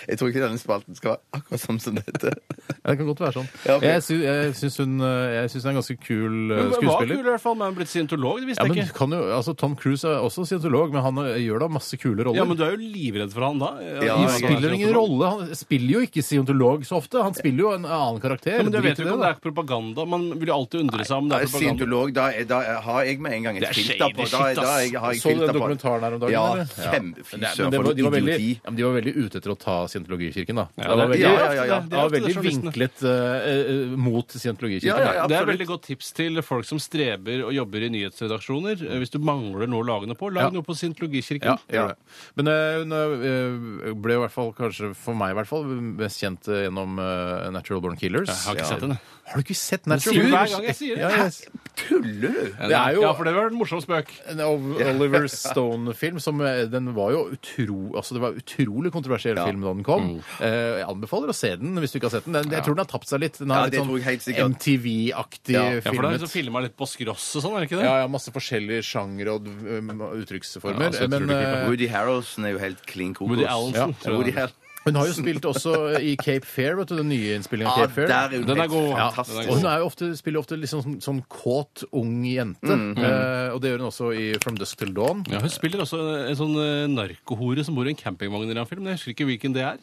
Jeg tror ikke denne spalten skal være akkurat sånn som dette. Ja, det kan godt være sånn. Ja, ok. Jeg sy- Jeg syns hun, eh, jeg syns hun er en ganske kul eh, Hun var kul i skuespiller. hvert fall, men hun er blitt scientolog, det Ja, visste jeg men ikke. kan jo, altså Tom Cruise er også scientolog, men han eh, gjør da masse kule roller. Ja, men du er jo livredd for han da. Ja, Han ja, ja. spiller ingen rolle. Han spiller jo ikke scientolog så ofte. Han spiller jo en annen karakter. Ja, men du Drit vet i jo ikke om da. det er propaganda. Man vil jo alltid undre seg om det Da er er propaganda. Scientolog, da, er- da er- har jeg med en gang Det et er filter shady på. Da, shit, da ass. er jeg- har jeg Så du filter den på. dokumentaren her om dagen? Ja, eller? kjempe- fy Men søren, det- men det for var- noe de var veldig- idioti. ja, men De var veldig ute etter å ta scientologikirken, da. Ja, det, var det- veldig, ja, ja, ja, ja. Det var Det er veldig ofte det journalistene. vinklet eh, eh, mot scientologikirken. Ja, ja, ja. Det er absolutt. veldig godt tips til folk som streber og jobber i nyhetsredaksjoner. Eh, Hvis du mangler noe å lage noe på, lag Ja. noe Ja, på Scientologikirken. gjør det. Men eh, hun eh, ble i hvert fall, kanskje for meg i hvert fall, mest kjent eh, gjennom eh, Natural Born Killers. Jeg har ikke sett den, jeg. Har du ikke sett sier Natural du Born hver gang jeg sier det. Ja, jeg- Tuller du? Det er jo- (laughs) Ja, for det var en morsom spøk. en (laughs) Ov- Oliver Stone-film som eh, Den var jo utro, altså det var en utrolig kontroversiell film da den Mm. kom. Eh, Jeg anbefaler å se den hvis du ikke har sett den. den jeg tror den har tapt seg litt. Den Ja, har det tror jeg litt helt sånn sikkert. MTV-aktig Ja, ja, Ja, for det er filmet. liksom filma litt på skross og sånn, er det ikke det? Ja, ja, masse forskjellige sjangre og eh, uttrykksformer. Ja, altså, jeg tror men det eh, klipper. Woody Harrelson er jo helt klin kokos. Woody Allenson, Ja, tror jeg Woody det er. Harrelson. hun har jo spilt også i Cape Fair, vet du, den nye innspillingen av Ja, Cape Fair. der er hun Den er helt god. Ja, fantastisk. den er Og hun er jo ofte, spiller ofte liksom sånn, sånn kåt, ung jente. Eh, og det gjør hun også i From Dusk Till Dawn. Ja, Hun spiller også en sånn eh, narkohore som bor i en campingvogn i en film. Jeg husker ikke hvilken det er.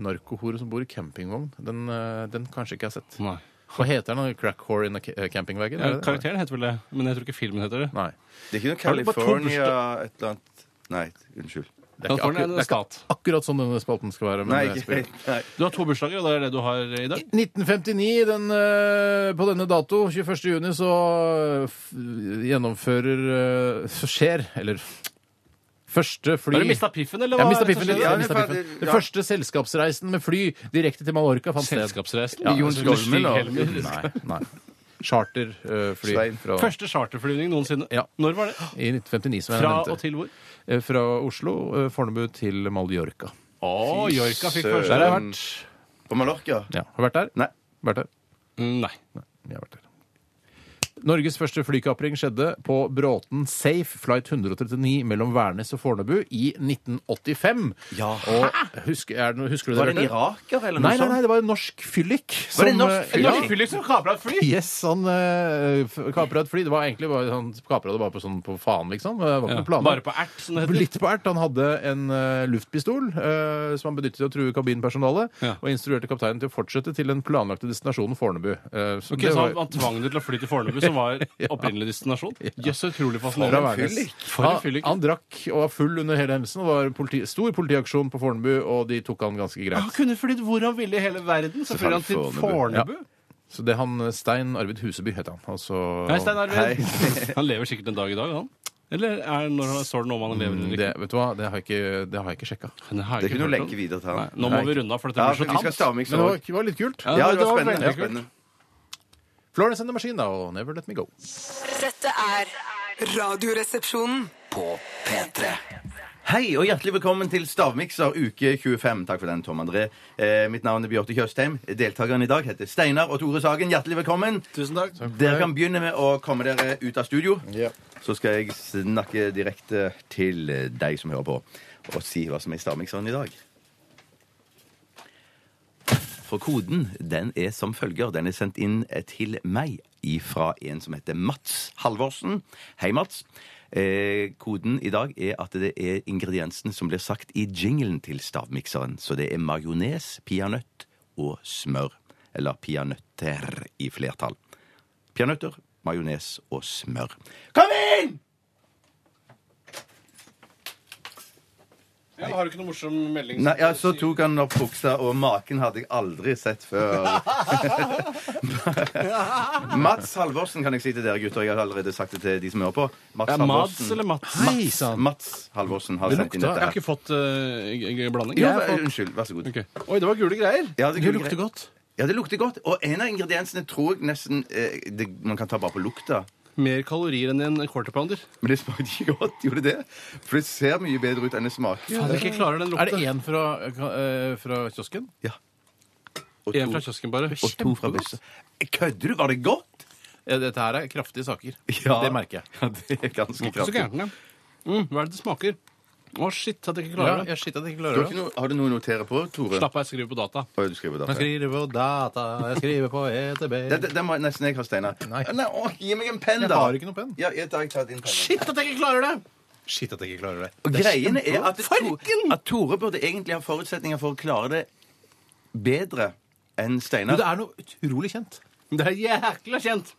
Narkohore som bor i campingvogn. Den, eh, den kanskje ikke jeg har sett. Nei. Hva heter den? Crack whore in a ca- eh, camping wagon? Ja, er det det? karakteren heter vel det, men jeg tror ikke filmen heter det. Nei. Det er ikke noe Har du bare to California et eller annet Nei, unnskyld. Det er ikke, Kalifornien er akkurat, en det er ikke stat. akkurat sånn denne spalten skal være. men Nei, jeg ikke spiller- helt. (laughs) Nei. Du har to bursdager, og det er det du har eh, i dag. 1959, den, eh, på denne dato, 21. juni, så eh, f gjennomfører eh, Så skjer, eller Første fly Har du mista piffen, eller Jeg hva? mista er det piffen. som litt, skjer? Ja, jeg mistet men piffen. faen, Den ja. første selskapsreisen med fly direkte til Mallorca fant sted. Selskapsreisen? Ja, Jon altså, under Skolmen, da. Stig Helmer. Nei. (laughs) nei. Charterfly Svein. fra Første charterflyvning noensinne. Ja. Når var det? i 1959, som jeg Fra nevnte. og til hvor? Eh, Fra Oslo, eh, Fornebu til Mallorca. Å, Jorka fikk søren. første. Der har jeg vært. På Mallorca? Ja, har du vært der? Nei. Vært der? Mm, Nei. Jeg har vært der. Norges første flykapring skjedde på Bråten Safe flight 139 mellom Værnes og Fornebu i 1985. Ja. Og husker, er det, noe- husker du det? Var det en Bjarte? iraker eller noe Nei, nei, nei, sånt? det var en norsk fyllik. Var det en som, norsk eh, fyllik? ja, En norsk fyllik som kapra et fly! Yes, han uh, kapra et fly. Det var egentlig bare, han kapra det bare på sånn på faen, liksom. Det var ikke Ja. noen planer. Bare på ert, som det heter. Litt på ert. Han hadde en eh, luftpistol eh, som han benyttet til å true kabinpersonalet, Ja. og instruerte kapteinen til å fortsette til den planlagte destinasjonen Fornebu. Eh, så Ok, det så var- han, han tvang deg til å fly til Fornebu, som (laughs) var opprinnelig destinasjon? Jøss, så utrolig Fra fascinerende. Værnes. For en Han, fyllik. Ah, han drakk og var full under hele hendelsen. og Det var politi, stor politiaksjon på Fornebu, og de tok han ganske Han greit. kunne flydd hvor han ville i hele verden. Så fløy han til Fornebu. Fornebu. Så det han eh, Stein Arvid Huseby het han. Altså, Hei, Stein Arvid. Han lever sikkert en dag i dag, han. Eller er det når han står det noe om han lever eller det, ikke? vet du hva, det har jeg ikke, det har jeg ikke sjekka. Mm, Det har jeg Det er ikke noe hørt om. lenke videre til Nei, han. Nå må vi runde av, for dette Ja, blir for de skal så tamt. stave meg Men det var, det var litt kult. Ja, Ja, det var spennende. Det veldig var kult. spennende. Florence and the Machine, da, og Never Let Me Go. Dette er Radioresepsjonen. Hei og hjertelig velkommen til Stavmikser uke 25. Takk for den, Tom André. Eh, mitt navn er Bjarte Tjøstheim. Deltakerne i dag heter Steinar og Tore Sagen. Hjertelig velkommen. Tusen takk. Dere kan begynne med å komme dere ut av studio. Ja. Så skal jeg snakke direkte til deg som hører på, og si hva som er i stavmikseren i dag. For koden den er som følger. Den er sendt inn til meg fra en som heter Mats Halvorsen. Hei, Mats. Eh, koden i dag er at det er ingrediensene som blir sagt i jinglen til stavmikseren. Så det er majones, peanøtt og smør. Eller peanøtter i flertall. Peanøtter, majones og smør. Kom inn! Ja, har du ikke noe morsom melding? Nei, ja, Så tok han opp buksa, og maken hadde jeg aldri sett før. Mats Halvorsen kan jeg si til dere gutter. Jeg har allerede sagt det til de som hører på. Mats Er det Mads eller Mats? Hei sann! Mats Halvorsen har Det sendt inn lukta- dette. Jeg har her. ikke fått eh, g- g- blanding. Jo, Jeg har fått- unnskyld. Vær så god. Ok. Oi, det var gule greier. Ja, det, Det lukter godt. Ja, det lukter godt. Og en av ingrediensene tror jeg nesten eh, det, man kan ta bare på lukta. Mer kalorier enn i en quarter pounder. Men det smakte ikke godt, (laughs) gjorde det? For det ser mye bedre ut enn det smaker. Fader, ikke klarer den Er det lukten. én fra, eh, fra kiosken? Ja. Og En fra to, kiosken, bare. og to fra bussen. Kødder du? Var det godt? (laughs) Eh, Dette her er kraftige saker. Ja. Det merker jeg. Ja, det er ganske Ikke så kraftig. gærent, ja. Mm, hva er det det smaker? Å, shit, at jeg ikke Ja, klarer det. jeg shit at jeg ikke Du klarer har, det. ikke noe, har du noe å notere på, Tore? Slapp av, jeg skriver på data. Hva er det du skriver da? Jeg skriver på data, jeg skriver på E ETB Det, det, det må jeg nesten jeg ha, Steinar. Nei. å, gi meg en penn, Jeg da! har ikke noen penn. Ja, jeg tar, jeg tar din penn. Shit, at jeg ikke klarer det! Shit at jeg ikke klarer det. Og greiene er at, to, Farken! at Tore burde egentlig ha forutsetninger for å klare det bedre enn Men Steinar. det er noe utrolig kjent. Det er jækla kjent.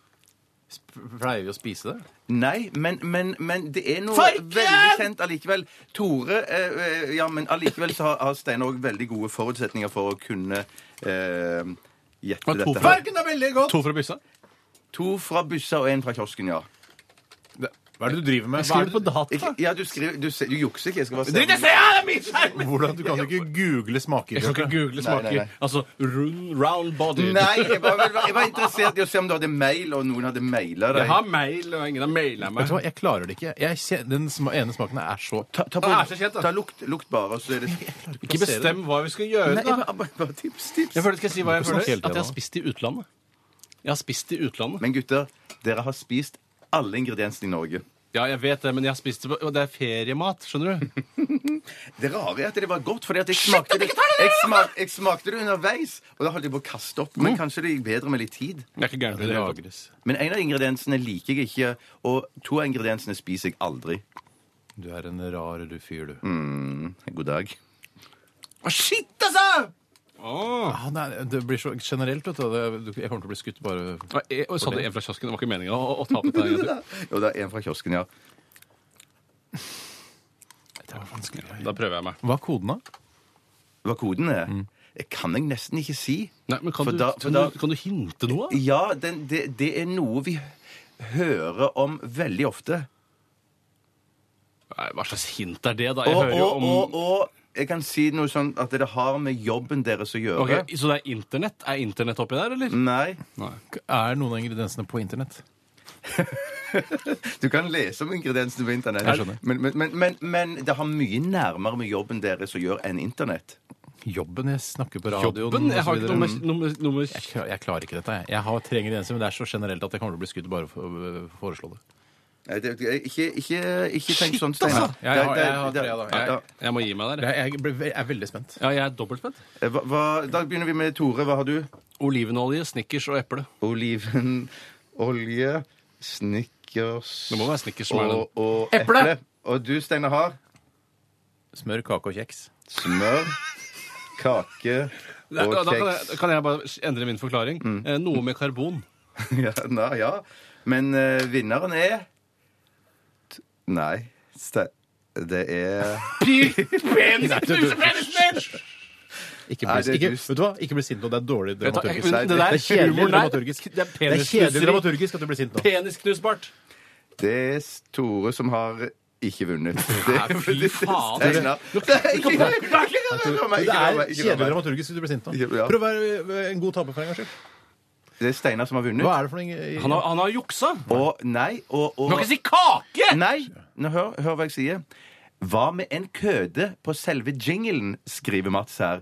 Sp- Pleier vi å spise det? Nei, men, men, men det er noe Farken! veldig kjent allikevel. Tore eh, eh, Ja, men allikevel så har, har Steinar òg veldig gode forutsetninger for å kunne eh, gjette Men to- dette. her. er veldig godt! To fra byssa? To fra byssa og én fra kiosken, ja. Hva er det du driver med? Skriver på data. Ikke, ja, du skriver Du, se- du jukser ikke. Jeg skal bare Drit i se. det! Ja, det er min skjerm! Hvordan, Du kan jo ikke google smaker. Jeg skal ikke google Nei, nei, smaker. nei. Altså rund, round body. Nei, jeg var, vel- jeg var interessert i å se om du hadde mail, og noen hadde maila Jeg deg. har mail, og ingen har maila Vet meg. du hva, jeg klarer det ikke. Jeg kjen- den sma ene smaken er så Ta, ta, Ah, det er så kjent, da. ta lukt, lukt bare, og så (laughs) er det Ikke bestem hva vi skal gjøre, Nei, da. bare, bare- bare tips, tips. Jeg føler ikke jeg si hva Du jeg må ikke snakke føler. hele At tiden, jeg har da. spist i utlandet. Jeg har spist i utlandet. Men gutter, dere har spist alle ingrediensene i Norge. Ja, jeg vet det, men jeg har spist det på og Det er feriemat, skjønner du. Det rare er at det var godt, fordi at jeg smakte det, jeg smak, jeg smakte det underveis. Og da holdt jeg på å kaste opp. Mm. Men kanskje det gikk bedre med litt tid. Det er ikke gærent. i det hele tatt. lagres. Men en av ingrediensene liker jeg ikke, og to av ingrediensene spiser jeg aldri. Mm, Du er en rar du fyr, du. God dag. Åh. Ah, nei, det blir så generelt, vet du. Det- du- Jeg kommer til å bli skutt bare Ja, jeg- Og sa det en fra kiosken? Det var ikke meninga å, å ta opp dette. her, (laughs) jeg tror. Jo, det er en fra kiosken, ja. Da prøver jeg meg. Hva er koden, da? Hva koden er? Det kan jeg nesten ikke si. Mm. Nei, men kan, For du, da- for kan, da- du, kan du hinte noe? da? Ja, den, det, det er noe vi hører om veldig ofte. Nei, hva slags hint er det, da? Jeg Og, hører jo og, om og, og jeg kan si noe sånn at det har med jobben deres å gjøre. Ok, Så det er internett? Er internett oppi der, eller? Nei. Nei. Er noen av ingrediensene på internett? Du kan lese om ingrediensene på internett. Jeg skjønner. Men, men, men, men, men det har mye nærmere med jobben deres å gjøre enn internett. Jobben jeg snakker på radioen Jobben? Jeg har og så ikke videre. noe med, noe med, noe med jeg, klar, jeg klarer ikke dette. Jeg, jeg har tre ingredienser, men det er så generelt at jeg kommer til å bli skutt bare for å øh, foreslå det. Nei, det, ikke, ikke, ikke tenk sånn, altså! Steinar. Jeg har- jeg har tre, da. Ja, ja. jeg, jeg må gi meg der. jeg. Jeg, jeg, ble, jeg er veldig spent. Ja, jeg er dobbeltspent. Hva, hva- da begynner vi med Tore. Hva har du? Olivenolje, Snickers og eple. Olivenolje, snickers Det må være Snickers som er den. og, og Eple! eple. Og du, Steinar, har Smør, kake og kjeks. smør, kake Da, og da kan, kjeks. jeg, kan jeg bare endre min forklaring? Eh, noe med karbon. Ja, na, ja. Men eh, vinneren er T- Nei. Ste det er Ikke Nei, bli, det er ikke, dust. vet du hva? Ikke bli sint nå. Det er dårlig Vet du hva, dramaturgisk. men Nei, det der- det er kjedelig humoren der, dramaturgisk. Det er Det er kjedelig penisnuseri. dramaturgisk at du blir sint nå. Penisknusbart. Det er Tore som har ikke vunnet. Det Nei, fy det er faen. Steinar. Nei, ikke rør meg, ikke rør meg, Det ikke rør er meg, ikke kjedelig rør meg. dramaturgisk at du blir sint nå. Ja. Prøv å være øh, en god taper for en gangs skyld. Det er Steinar som har vunnet. Hva er det for noe Han har, han har juksa! Og nei og, og Du kan ikke si (laughs) kake! Nei! Nå, hør, hør hva jeg sier. Hva med en køde på selve jinglen, skriver Mats her.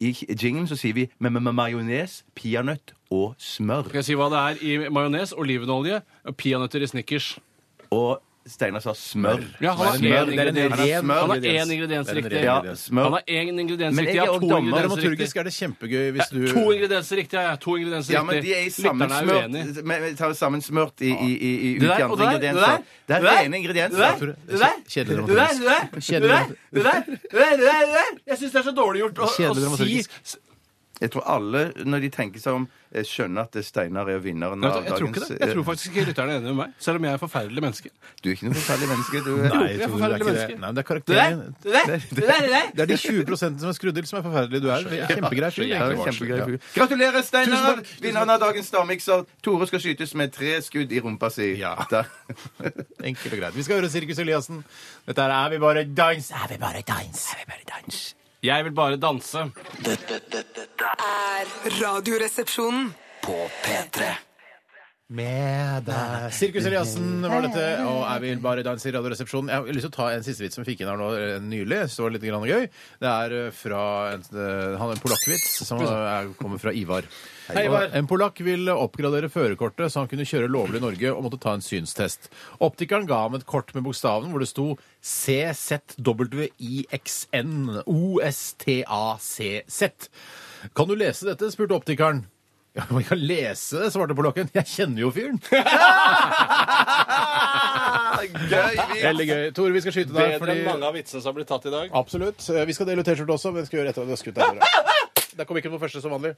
I jinglen så sier vi med, med, med majones, peanøtt og smør. Skal jeg si hva det er i majones, olivenolje, peanøtter i Snickers? Og Steinar sa smør. Ja, han har Det er én en ingrediens. ren Han har ingrediens. én ingrediens Det er en riktig. ren Ja, ingrediens. smør. Han har én ingrediens Men jeg riktig. Jeg er har også to dommer. ingredienser riktig. Dramaturgisk er det kjempegøy hvis du To ingredienser riktig, ja. ja, To ingredienser Ja, men de riktig. er i Lytterne er sammensmørt uenige. med- med- tar sammensmørt i, i, i, i Det der, ulike og andre det der, det ingredienser. der, Det det er der, rene det ingredienser. der. Tore, det er kje- Kjedelig dramaturgisk. Kjedelig dramaturgisk. Jeg syns det er så dårlig gjort å, Kjedelig dramaturgisk. si Jeg tror alle, når de tenker seg om, eh, skjønner at Steinar er vinneren Nei, av Jeg tror ikke dagens eh, det. Jeg tror faktisk ikke lytterne er enig med meg. Selv om jeg er et forferdelig menneske. Du er ikke noe forferdelig menneske. Du, eh. Nei, Tore, jeg er det er forferdelig ikke det. menneske. Nei, men det er karakteren. det der, det der. Det er de 20 som er skrudd til, som er forferdelige. Du er en kjempegrei Ja, fyr. det egentlig. var kjempegøy. Gratulerer, Tusen Steinar! takk. Vinneren av dagens stavmikser. Tore skal skytes med tre skudd i rumpa si. (laughs) Ja. Der. Enkelt og greit. Vi skal høre Sirkus Eliassen. Dette her er Vi bare dans. Er vi bare dans? Er vi bare dans? Jeg vil bare danse. Dette, dette, dette er Radioresepsjonen. på P3 Med deg. Sirkus Eliassen var dette, og jeg vil bare danse i Radioresepsjonen. Jeg har lyst til å ta en siste vits som vi fikk inn her nå eh, nylig. Så det var litt grann gøy. Det er eh, fra en, eh, han er en polakkvits som eh, er, kommer fra Ivar. Hei, Ivar. En polakk ville oppgradere førerkortet så han kunne kjøre lovlig i Norge og måtte ta en synstest. Optikeren ga ham et kort med bokstaven hvor det sto CZWIXNOSTACZ. Kan du lese dette? spurte optikeren. Ja, men jeg kan lese det, svarte polakken. Jeg kjenner jo (laughs) fyren. Gøy vits! Veldig gøy. Tore, vi skal skyte deg. Bedre enn mange av vitsene som har blitt tatt i dag. Absolutt. Eh, Vi skal dele ut T-skjorte også, men vi skal gjøre etter at vi har skutt deg. Der kom ikke den første som vanlig.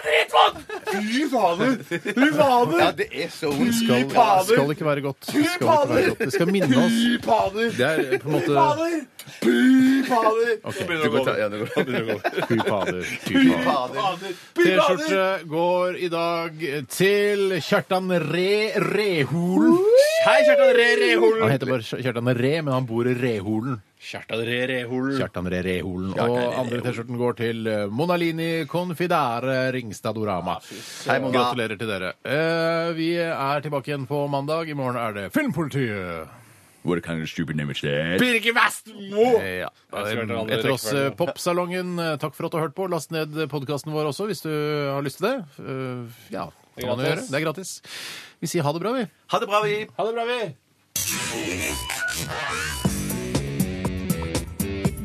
Dritt, mann! Fy fader! Fy fader! Ja, det er så Fy ondskap. fader! Skal ikke være godt. Skal ikke være fader! godt. Det skal minne oss. Fy fader! Det er på en Fy måte fader! Fy fader! Det går ta- ja, det går- Fy fader. Fy Fy fader. fader! Fy fader! T-skjorte går i dag til Kjartan Re Reholen. Hei, Kjartan Re Reholen! Han heter bare Kjartan Re, men han bor i Reholen. Kjartan Re Rehol. Kjartan Re Reholen. Og andre T-skjorten går til eh, Monalini Confidare Ringstadorama. Hei, Mona. Gratulerer til dere. Eh, Vi er tilbake igjen på mandag. I morgen er det Filmpolitiet. What kind of stupid name is that? Birger Vestmo! Eh, Ja. Jeg skal høre den andre Etter oss eh, rekkefølgen. Popsalongen. Eh, Takk for at du har hørt på. Last ned podkasten vår også hvis du har lyst til det. Eh, Ja, det kan man jo gjøre. Det er gratis. Vi sier ha det bra, vi. Ha det bra, vi. Ha det bra, vi!